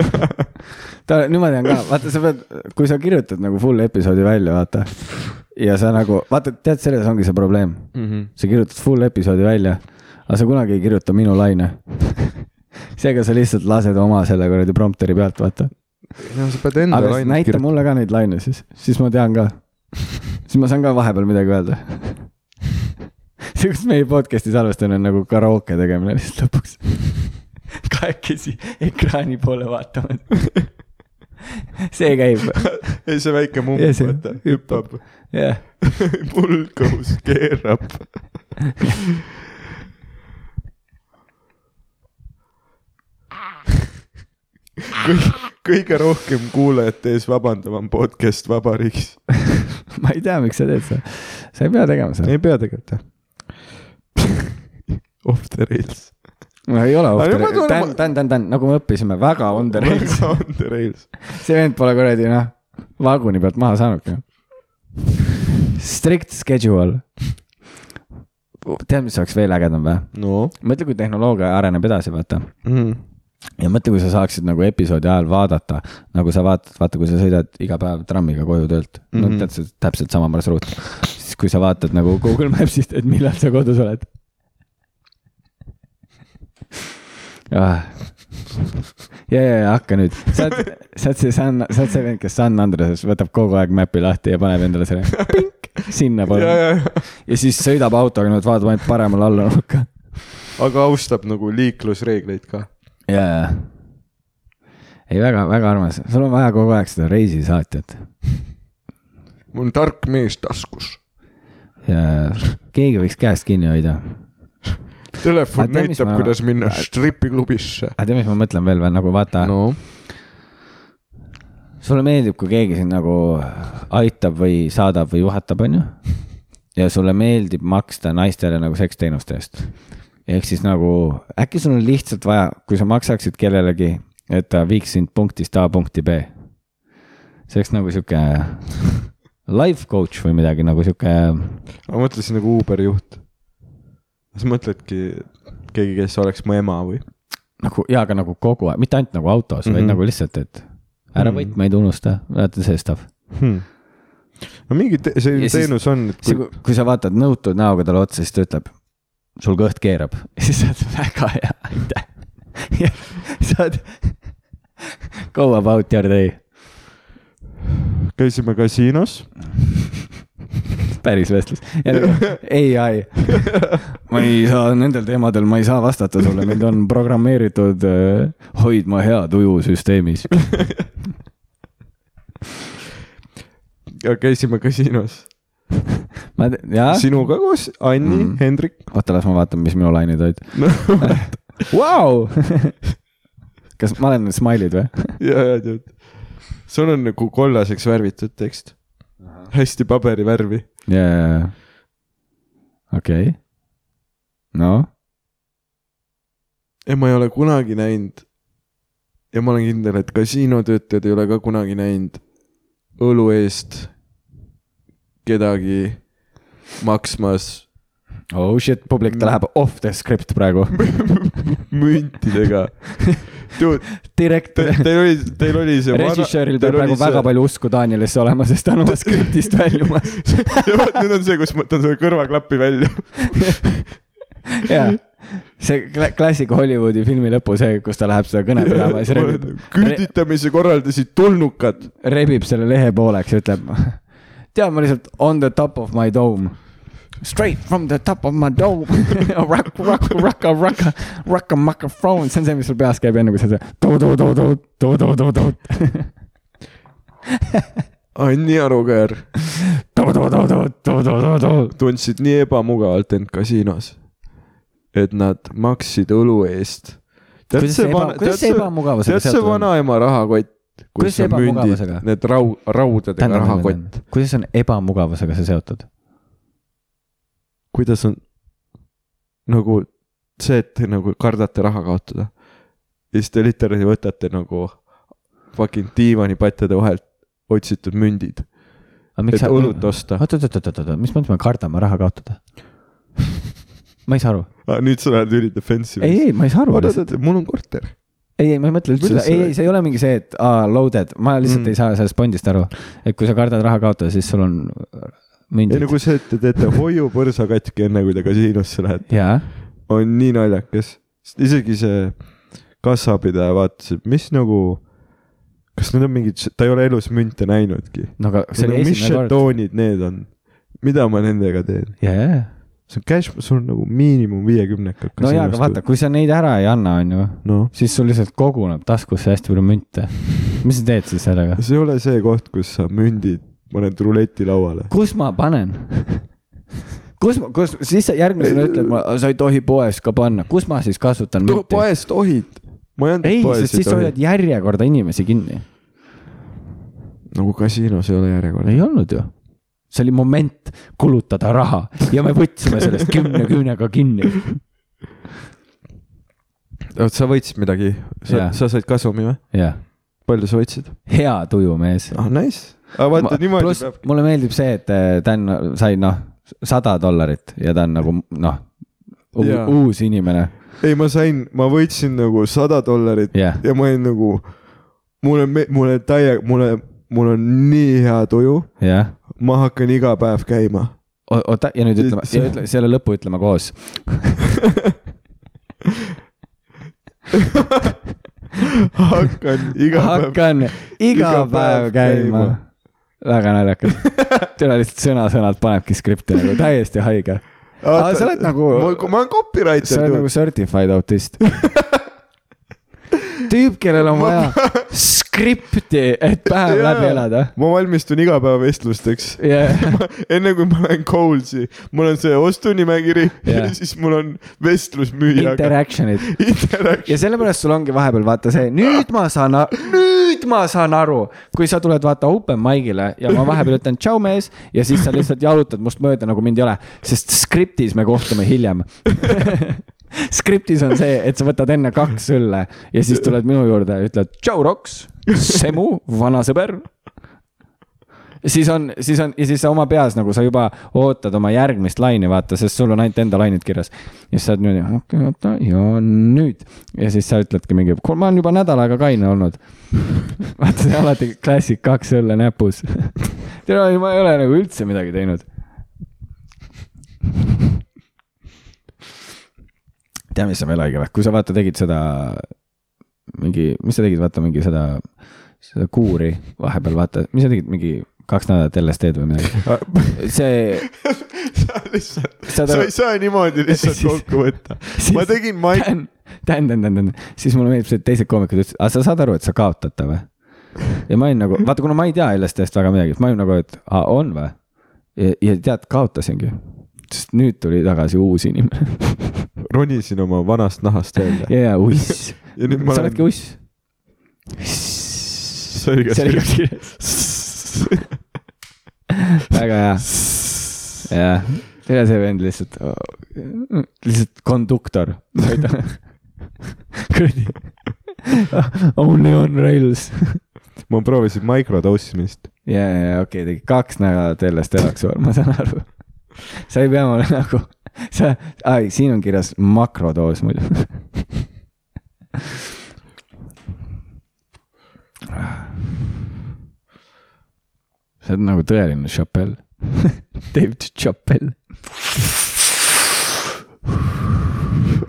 S1: ta , nüüd ma tean ka , vaata , sa pead , kui sa kirjutad nagu full episoodi välja , vaata . ja sa nagu , vaata , tead , selles ongi see probleem sa kirjutad full episoodi välja , aga sa kunagi ei kirjuta minu laine . seega sa lihtsalt lased oma selle kuradi prompteri pealt , vaata .
S2: no sa pead
S1: Mm.
S2: enda
S1: aga siis
S2: lainet
S1: näita
S2: kirjutama .
S1: mulle ka neid laine siis , siis ma tean ka . siis ma saan ka vahepeal midagi öelda . see , kus meie podcast'i salvestamine on nagu karaoke tegemine lihtsalt lõpuks . kahekesi ekraani poole vaatama . see käib ,
S2: ei , see väike mumm ,
S1: Ja see
S2: vaata , hüppab ,
S1: jah .
S2: mulgus keerab . kõige rohkem kuulajate ees vabandav on podcast vabariigis .
S1: ma ei tea , miks sa teed seda . sa ei pea tegema seda .
S2: ei pea tegelikult jah . Off the rails .
S1: no ei ole
S2: Aga
S1: off the
S2: ma
S1: rails ,
S2: tunnen-
S1: Dan , Dan , Dan , Dan , nagu me õppisime , väga on the rails .
S2: on the rails .
S1: see vend pole kuradi noh , vaguni pealt maha saanudki . Strict schedule . tead , mis oleks veel ägedam või ?
S2: no
S1: mõtle , kui tehnoloogia areneb edasi , vaata .
S2: mm. .
S1: ja mõtle , kui sa saaksid nagu episoodi ajal vaadata , nagu sa vaatad , vaata , kui sa sõidad iga päev trammiga koju töölt mm . -hmm.
S2: Mhm.
S1: no tead , see on täpselt sama marsruut . siis kui sa vaatad nagu Google Maps'ist , et millal sa kodus oled ah. . ja , ja , ja hakka nüüd , sa oled , sa oled see San , sa oled see vend , kes San Andreses võtab kogu aeg map'i lahti ja paneb endale selle pink sinnapoole
S2: ja ,
S1: ja,
S2: ja , ja ,
S1: ja siis sõidab autoga niimoodi , vaatab ainult paremale alla nurka .
S2: aga austab nagu liiklusreegleid ka .
S1: ja , ja . ei , väga , väga armas , sul on vaja kogu aeg seda reisisaatjat
S2: mul on tark mees taskus .
S1: ja keegi võiks käest kinni hoida .
S2: telefon
S1: Aga tea, mis
S2: näitab
S1: ma- ,
S2: kuidas minna stripiklubisse .
S1: aga tea , Ah, mis ma mõtlen veel või nagu vaata no. ,
S2: no
S1: sulle meeldib , kui keegi sind nagu aitab või saadab või juhatab , onju . ja sulle meeldib maksta naistele nagu seksteenuste eest . ehk siis nagu äkki sul on lihtsalt vaja , kui sa maksaksid kellelegi , et ta viiks sind punktist A punkti B . see oleks nagu sihuke life coach või midagi nagu sihuke
S2: ma mõtlesin nagu Uberi juht . kas mõtledki keegi , kes oleks mu ema või ?
S1: nagu jaa , aga nagu kogu aeg , mitte ainult nagu autos mm , -hmm. vaid
S2: Mhm.
S1: nagu lihtsalt , et ära
S2: Mhm.
S1: võtmeid unusta , vaata see stuff .
S2: Hmm. no mingi te
S1: Ja
S2: selline
S1: siis-
S2: teenus on , et kui
S1: kui , kui sa vaatad nõutud näoga talle otsa , siis ta ütleb , sul kõht keerab . siis sa oled väga hea , aitäh . ja sa oled go about your day ,
S2: käisime kasiinos ,
S1: päris vestlus . ei , ei , ma ei saa nendel teemadel , ma ei saa vastata sulle , mind on programmeeritud äh, hoidma hea tuju süsteemis .
S2: käisime kasiinos
S1: ma , jaa ,
S2: sinuga koos , Anni
S1: Mhm.
S2: mm. , Hendrik
S1: oota , las ma vaatan , mis minu lained olid .
S2: no, .
S1: wow! . kas ma olen need smile'id või ?
S2: ja , ja tead , sul on nagu kollaseks värvitud tekst , hästi paberivärvi .
S1: jaa , okei . no ,
S2: ja ma ei ole kunagi näinud . ja ma olen kindel , et kasiinotöötajad ei ole ka kunagi näinud õlu eest kedagi maksmas
S1: oh shit , publik , ta läheb off the script praegu .
S2: müntidega .
S1: direkt ,
S2: Teil oli , teil oli see .
S1: režissööril peab praegu väga . palju usku Danielisse olema , sest ta on oma skriptist väljumas .
S2: ja vot nüüd on see , kus ma võtan selle kõrvaklapi välja .
S1: jaa , see kla- klassika Hollywoodi filmi lõpu , see , kus ta läheb seda kõne pidama ja siis rebib ,
S2: küüditamise korraldasid tulnukad .
S1: rebib selle lehe pooleks ja ütleb , tead , ma lihtsalt on the top of my dome . Straight from the top of my dome , rock , rock , rock , rock , rock a microphone , see on see , mis sul peas käib enne , kui sa seda too-too-too-too , too-too-too-too ,
S2: Anni Arukäär
S1: too-too-too-too , too-too-too-too .
S2: tundsid nii ebamugavalt end kasiinos , et nad maksid õlu eest . tead
S1: kuidas
S2: see
S1: see eba
S2: vana ,, tead
S1: kuidas see
S2: see ,
S1: ebamugavusega
S2: tead see
S1: seotud on ?
S2: vanaema rahakott ,
S1: Kuidas
S2: kus
S1: see
S2: on mündid
S1: ebamugavusega? ,
S2: need rau- , raudadega rahakott .
S1: kuidas on ebamugavusega see seotud ?
S2: kuidas on nagu see , et te nagu kardate raha kaotada ja siis te literaalselt võtate nagu fucking diivanipatjade vahelt otsitud mündid , et õlut
S1: oot ,
S2: osta .
S1: oot , oot , oot , oot , mis mõttes me kardame raha kaotada ? ma ei saa aru ,
S2: Ah, nüüd sa lähed üli defensive .
S1: ei , ei , ma ei saa aru .
S2: oot-oot-oot , mul on korter .
S1: ei , ei , ma ei mõtle üldse
S2: Kuidas
S1: seda , ei
S2: sa- ,
S1: ei , see ei ole mingi see , et aa , loaded , ma lihtsalt mm.
S2: Mm.
S1: ei saa sellest fondist aru . et kui sa kardad raha kaotada , siis sul on
S2: ei
S1: mündid
S2: nagu see , et te teete hoiupõrsa katki enne , kui te kasiinosse lähete ,
S1: jaa ,
S2: on nii naljakas . isegi see kassapidaja vaatas , et mis nagu , kas need on mingid , ta ei ole elus münte näinudki .
S1: no aga see oli
S2: mis
S1: esimene kord ,
S2: žetoonid need on ? mida ma nendega teen ?
S1: jajah .
S2: see on cash , sul on nagu miinimum viiekümnekat .
S1: no jaa , aga vaata ,. kui sa neid ära ei anna , onju ,
S2: noh ,
S1: siis sul lihtsalt koguneb taskusse hästi palju münte . mis sa teed siis sellega ?
S2: see ei ole see koht , kus sa mündid , paned ruleti lauale .
S1: kus ma panen ? kus ma , kus , siis sa järgmisena ütled , sa ei tohi poes ka panna , kus ma siis kasutan münti ?
S2: poes tohid . ma
S1: ei
S2: ei andnud , poes
S1: sest siis sa hoiad . järjekorda inimesi kinni .
S2: nagu kasiinos ei ole järjekorda .
S1: ei olnud ju . see oli moment kulutada raha ja me võtsime sellest kümne küünega kinni .
S2: oot , sa võitsid midagi , sa
S1: Jaa. ,
S2: sa said kasumi või ?
S1: jah ,
S2: palju sa võitsid ?
S1: hea tuju , mees .
S2: ah , nice . aga vaata , niimoodi
S1: pluss
S2: peabki .
S1: mulle meeldib see , et äh, ta on , sai noh , sada dollarit ja ta on nagu noh ,
S2: Jaa.
S1: uus inimene .
S2: ei , ma sain , ma võitsin nagu sada dollarit
S1: jah ,
S2: ja ma olin nagu , mul on , mul on täie , mul on , mul on nii hea tuju ,
S1: jah .
S2: ma hakkan iga päev käima .
S1: oota , ja nüüd ütleme ,
S2: See-
S1: ja ütle , selle lõpu ütleme koos .
S2: hakkan iga päev ,
S1: hakkan iga
S2: iga
S1: päev
S2: päev
S1: käima
S2: käima. .
S1: väga naljakas . tule lihtsalt sõna-sõnalt panebki skripti nagu täiesti haige . Aga sa oled nagu-
S2: ma, ma olen
S1: sa
S2: copywriter
S1: oled nagu
S2: nagu... .
S1: certified autist . tüüp , kellel on vaja skripti , et päev
S2: Jaa.
S1: läbi elada .
S2: ma valmistun iga päev vestlusteks .
S1: jah ,
S2: enne kui ma lähen Coles'i , mul on see ostunimekiri yeah.
S1: Jah.
S2: ja siis mul on vestlus müüjaga .
S1: interaction'id ja
S2: Interaction .
S1: sellepärast sul ongi vahepeal vaata see , nüüd ma saan , nüüd ma saan aru , kui sa tuled vaata open mic'ile ja ma vahepeal ütlen tšau mees ja siis sa lihtsalt jalutad must mööda nagu mind ei ole , sest skriptis me kohtume hiljem . skriptis on see , et sa võtad enne kaks õlle ja siis tuled minu juurde ja ütled tšau , Roks , Semu , vana sõber siis on , siis on ja siis sa oma peas nagu sa juba ootad oma järgmist laine , vaata , sest sul on ainult enda lained kirjas . ja siis sa oled niimoodi , okei okay, , oota ja nüüd ja siis sa ütledki mingi , ma olen juba nädal aega kaine olnud . vaata , see on alati klassik , kaks õlle näpus . tead , ma ei ole nagu üldse midagi teinud . tea , mis on veel haige või , kui sa vaata tegid seda mingi , mis sa tegid , vaata mingi seda , seda kuuri vahepeal , vaata , mis sa tegid , mingi kaks nädalat LSD-d või midagi . see ,
S2: sa lihtsalt ,
S1: Saad
S2: sa
S1: aru-
S2: ei saa niimoodi lihtsalt
S1: Siis-
S2: kokku võtta . ma
S1: siis-
S2: tegin Mike ,
S1: Dan , Dan , Dan , Dan , Dan , siis mulle meeldib see , et teised koomikud ütlesid , aga sa saad aru , et sa kaotad ta või ? ja ma olin nagu , vaata , kuna ma ei tea LSD-st väga midagi , siis ma olin nagu , et aa , on või ? ja tead , kaotasingi , sest nüüd tuli tagasi uus inimene
S2: ronisin oma vanast nahast välja .
S1: ja , ja uss .
S2: ja nüüd ma
S1: sa oledki
S2: olen .
S1: uss . see
S2: oli ka
S1: oli ka kirjas , väga hea , jah . tere , see vend lihtsalt , lihtsalt konduktor . kuradi , only on rails
S2: ma proovisin mikrodossimist .
S1: ja , ja , ja okei okay, , tegi kaks nädalat LSD elaks veel , ma saan aru . sa ei pea mulle nagu , sa , ai , siin on kirjas makrodoos muidu . sa oled nagu tõeline Chappelle , David Chappelle .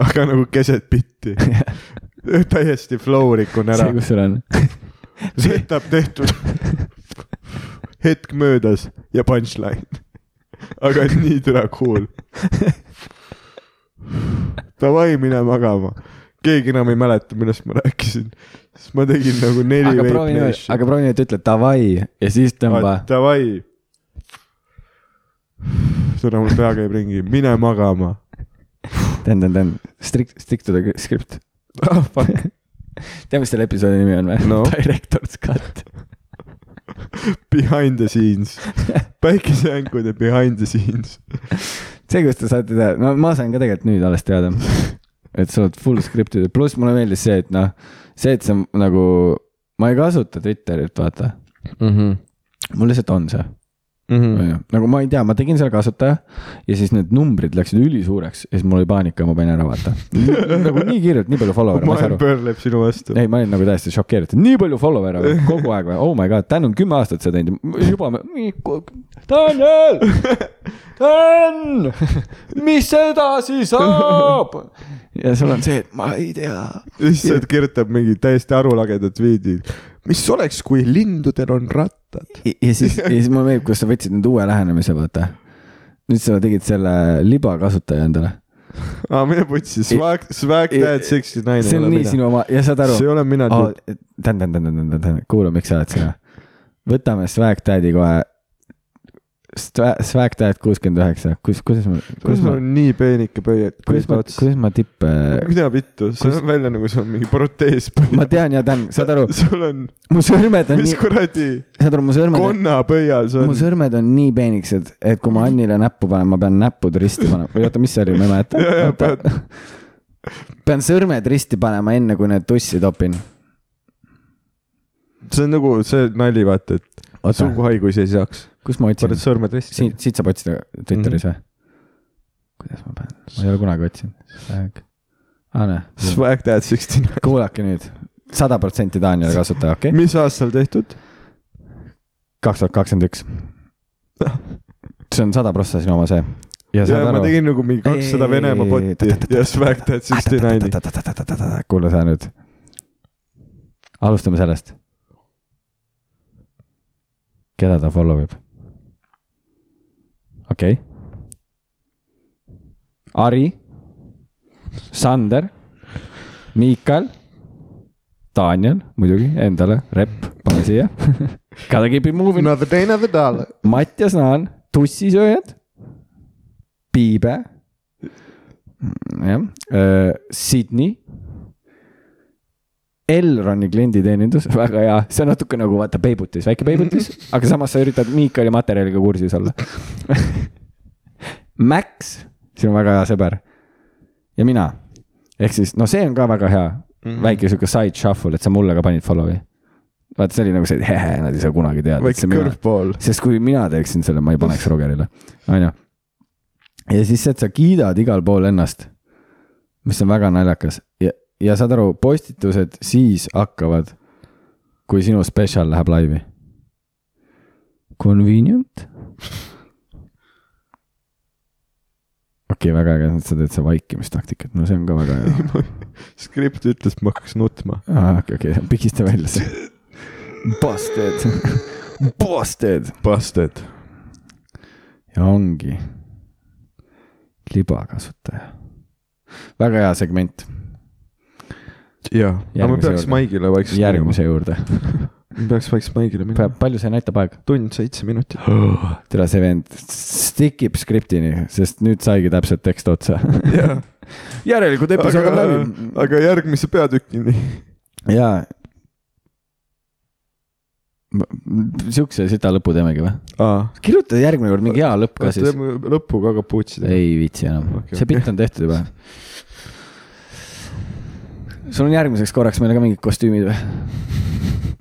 S2: aga nagu keset bitti . täiesti flow rikun ära
S1: see ,. kus sul on .
S2: setup tehtud . hetk möödas ja punchline . aga et nii türa cool . Davai , mine magama . keegi enam ei mäleta , millest ma rääkisin . siis ma tegin nagu neli
S1: aga
S2: vape
S1: proovi nüüd ,
S2: nash'i .
S1: aga proovi nüüd ütle davai ja siis tõmba .
S2: Davai . türa , mul pea käib ringi , mine magama .
S1: tõnd-tõnd-tõnd , strict , stick to the script .
S2: ah fuck ,
S1: tead , mis selle episoodi nimi on või
S2: No.
S1: Director's cut .
S2: behind the scenes . päikesejänkude behind the scenes .
S1: see , kus te saate teada , no ma sain ka tegelikult nüüd alles teada , et sa oled full scripted , pluss mulle meeldis see , et noh , see , et sa nagu , ma ei kasuta Twitterit , vaata .
S2: mm .
S1: Mhm.
S2: -hmm.
S1: mul lihtsalt on see ,
S2: Mm.
S1: onju , nagu ma ei tea , ma tegin seal kasutaja ja siis need numbrid läksid ülisuureks ja siis mul oli paanika , ma panin ära , vaata . nagu nii kiirelt , nii palju follower'e , ma ei saa
S2: maailm
S1: aru .
S2: pöörleb sinu vastu .
S1: ei , ma olin nagu täiesti šokeeritud , nii palju follower'e või? kogu aeg või , oh my god , Dan on kümme aastat seda teinud , juba me , Daniel , Dan , mis edasi saab ? ja sul on see , et ma ei tea .
S2: lihtsalt kirjutab mingi täiesti arulagedat tweet'i . mis oleks , kui lindudel on rattad ?
S1: ja siis , ja siis mulle meeldib , kuidas sa võtsid nüüd uue lähenemise , vaata . nüüd sa tegid selle libakasutaja endale .
S2: aa , mine putsi , swag , swag
S1: Ei-
S2: dad sixty nine .
S1: see on nii sinu . oma ja saad aru
S2: see ei . ole mina ,
S1: tähendab , tähendab , tähendab , tähendab , kuula , miks sa oled sina . võtame Swag Daddy kohe . Swag Dad kuuskümmend üheksa , kus , kuidas ma ,
S2: kuidas
S1: kuidas ma
S2: mul , on nii peenike pöied
S1: kuidas
S2: pöied
S1: ma ,
S2: ots ?
S1: kuidas ma tippe ,
S2: mida vittu , see
S1: kus-
S2: näeb välja nagu see on mingi protees .
S1: ma tean ja tean , saad aru ,
S2: sul on ,
S1: mu sõrmed on
S2: mis
S1: nii ,
S2: kuradi
S1: saad aru , mu sõrmed ,
S2: konnapöial see
S1: mu
S2: on ?
S1: sõrmed on nii peenikesed , et kui ma Annile näppu panen , ma pean näpud risti panema , või oota , mis see oli , ma ei
S2: ja ,
S1: mäleta .
S2: ja pead ,
S1: pean sõrmed risti panema , enne kui need tussi topin .
S2: see on nagu see nali , vaata , et
S1: oota ,
S2: suguhaigus ei saaks .
S1: kus ma otsin
S2: paned ? sõrmed risti .
S1: siit , siit saab otsida Twitteris
S2: Mhm.
S1: või ? kuidas ma panen , ma ei ole kunagi otsinud . aa , näe ,
S2: Swag dad sixty nine .
S1: kuulake nüüd , sada protsenti Daniel kasutaja , okei okay? ?
S2: mis aastal tehtud ?
S1: kaks tuhat kakskümmend üks . see on sada prossa sinu oma see . ja
S2: ja
S1: saad
S2: ma
S1: aru .
S2: tegin nagu mingi kakssada
S1: Ei,
S2: Venemaa botti
S1: ta-ta-ta-ta-ta.
S2: ja Swag dad sixty nine .
S1: kuule sa nüüd . alustame sellest . keda ta follow ib ? okei okay. . Ari , Sander , Miikal , Daniel muidugi endale , Repp , pane siia . Gotta keep it moving .
S2: Another day , another dollar .
S1: Mattias Naan , tussisööjad , Piibe , jah , Sydney , Elroni klienditeenindus , väga hea , see on natuke nagu vaata peibutis , väike peibutis , aga samas sa üritad Miikali materjaliga kursis olla . Max , sinu väga hea sõber ja mina , ehk siis no see on ka väga hea mm
S2: Mhm.
S1: -hmm. väike sihuke side shuffle , et sa mulle ka panid follow'i . vaata , see oli nagu see , et hehe , nad ei saa kunagi teada .
S2: väike kõrvpool .
S1: sest kui mina teeksin selle , ma ei paneks Rogerile , onju . ja siis , et sa kiidad igal pool ennast , mis on väga naljakas ja , ja saad aru , postitused siis hakkavad , kui sinu spetsial läheb laivi . Convenient . okei okay, , väga äge , sa teed seda vaikimistaktikat , no see on ka väga hea .
S2: skript ütles , et ma hakkasin nutma .
S1: Ah, okei , okei , pigista välja see . Busted , busted .
S2: Busted .
S1: ja ongi libakasutaja . väga hea segment ,
S2: jaa , aga me
S1: Järgmise
S2: peaks
S1: juurde.
S2: Maigile vaikselt .
S1: järgmise . juurde .
S2: me peaks vaikselt Maigile minema .
S1: palju see näitab aega ?
S2: tund seitse minutit .
S1: tere , see vend stikib skriptini , sest nüüd saigi täpselt tekst otsa .
S2: jah ,
S1: järelikult episood on ,
S2: aga
S1: läbi .
S2: aga järgmise peatükini .
S1: ja . Siukse sita lõpu teemegi või ?
S2: aa ,
S1: kirjuta järgmine kord mingi hea lõpp ka siis .
S2: teeme lõpuga kapuutsi .
S1: ei viitsi enam
S2: Okei,
S1: okay, , see
S2: okei.
S1: pilt on tehtud juba . sul on järgmiseks korraks meile ka mingid kostüümid või ?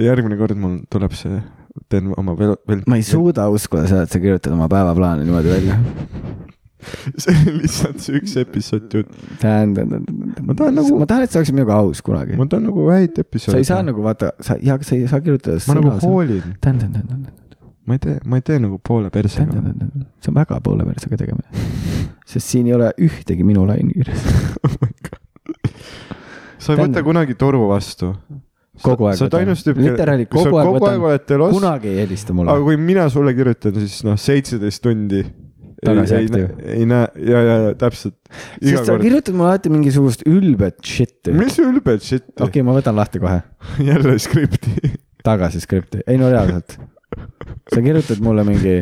S2: järgmine kord mul tuleb see , teen oma veel , veel .
S1: ma ei . suuda uskuda seda , et sa kirjutad oma päevaplaane niimoodi välja .
S2: see on lihtsalt see üks episood ju .
S1: tähendab , ma tahan nagu , ma tahan , et sa oleksid minuga aus kunagi .
S2: ma tahan nagu häid episoode .
S1: sa ei saa . nagu vaata , sa , jaa , aga sa ei saa kirjutada .
S2: ma nagu . hoolin ,
S1: tähendab ,
S2: ma ei tee , ma ei tee nagu poole persega .
S1: tähendab , see on väga poole persega tegemine . sest siin ei ole ühtegi minu laine kirjas .
S2: sa ei võta
S1: Tähendab-
S2: kunagi toru vastu .
S1: Kogu aeg
S2: sa oled
S1: võtan.
S2: ainus tüüp ,
S1: Literaali
S2: sa
S1: kogu aeg
S2: kogu
S1: võtan.
S2: aeg oled telos ,
S1: kunagi ei helista
S2: aga
S1: mulle .
S2: kui mina sulle kirjutan , siis noh , seitseteist tundi .
S1: Tagasi
S2: ei,
S1: aktiiv.
S2: nä- ei näe ja , ja , ja täpselt . iga
S1: sest sa
S2: kord ,
S1: kirjutad mulle alati mingisugust ülbet shit'i .
S2: mis ülbed shit
S1: okei
S2: okay. ,
S1: okay, , ma võtan lahti kohe ,
S2: jälle skripti .
S1: tagasi skripti , ei no reaalselt . sa kirjutad mulle mingi .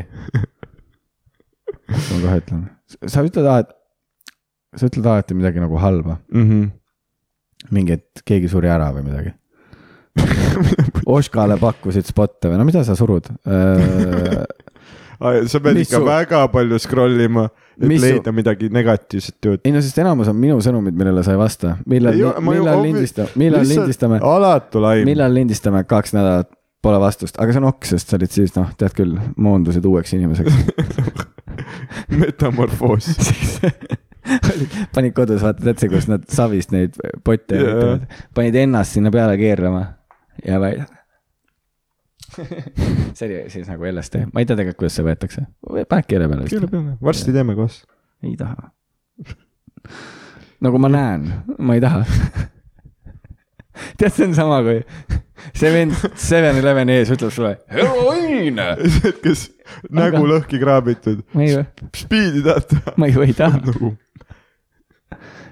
S1: mis ma kohe ütlen , sa ütled alati , sa ütled alati midagi nagu halba , mingi , et keegi suri ära või midagi . Oskale pakkusid spotte või no mida sa surud ? Äh, ei
S2: sa pead
S1: Mis
S2: ikka
S1: su-
S2: väga palju scroll ima , et
S1: Mis su-
S2: leida midagi negatiivset juurde .
S1: no sest enamus on minu sõnumid , millele sa ei vasta , millal , millal lindistame , millal lindistame ,
S2: alatu laim .
S1: millal lindistame , kaks nädalat pole vastust , aga see on ok , sest sa olid siis noh , tead küll , moondusid uueks inimeseks .
S2: metamorfoos .
S1: panid kodus , vaata , tead see , kus nad savist neid potte
S2: Jaa.
S1: üritavad , panid ennast sinna peale keerlema ja välja . see oli siis nagu LSD , ma ei tea tegelikult , kuidas see võetakse , paned keele peale
S2: keele
S1: vist ,
S2: peale , varsti teeme koos .
S1: ei taha . nagu ma näen , ma ei taha . tead , see on sama kui , see vend Seven Eleveni ees ütleb sulle heroiin .
S2: kes nägu lõhki kraabitud ,
S1: ma ei ,
S2: spiidi tahad teha ?
S1: ma ju ei taha .
S2: nagu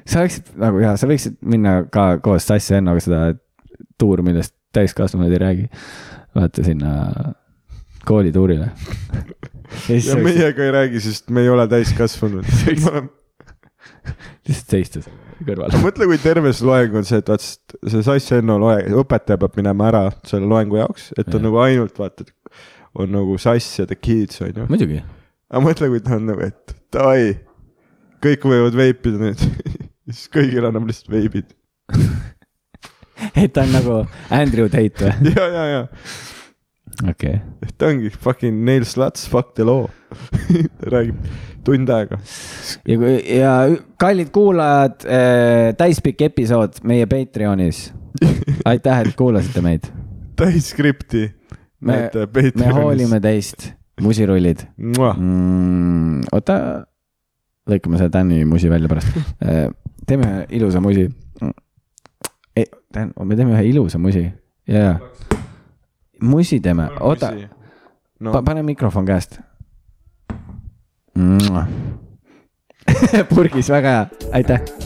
S1: sa võiksid nagu jaa , sa võiksid minna ka koos Sass ja Ennoga seda tuur , millest täiskasvanud ei räägi . vaata sinna koolituurile .
S2: ja meiega ei räägi , sest me ei ole täiskasvanud .
S1: lihtsalt seista seal kõrval .
S2: mõtle , kui terve see loeng on see , et vaat s- see Sass Enno loeng , õpetaja peab minema ära selle loengu jaoks , et on
S1: Jah.
S2: nagu ainult vaata , on nagu Sass ja The Kids on ju .
S1: muidugi ,
S2: aga mõtle , kui ta on nagu , et davai , kõik võivad veipida nüüd . siis kõigil annab lihtsalt veibid .
S1: et ta on nagu Andrew Tate või ?
S2: ja , ja , ja ,
S1: okei okay. ,
S2: et ta ongi fucking nail sluts , fuck the law . räägib tund aega .
S1: ja kui ja kallid kuulajad , täispikk episood meie Patreonis . aitäh , et kuulasite meid .
S2: täis skripti .
S1: me , me hoolime . teist , musirullid mm, . oota , lõikame selle Tänni musi välja pärast . teeme ühe ilusa musi . ei , Tän , me teeme ühe ilusa musi , jaa . musi teeme , oota ,
S2: no
S1: pa, pane mikrofon käest . purgis , väga hea , aitäh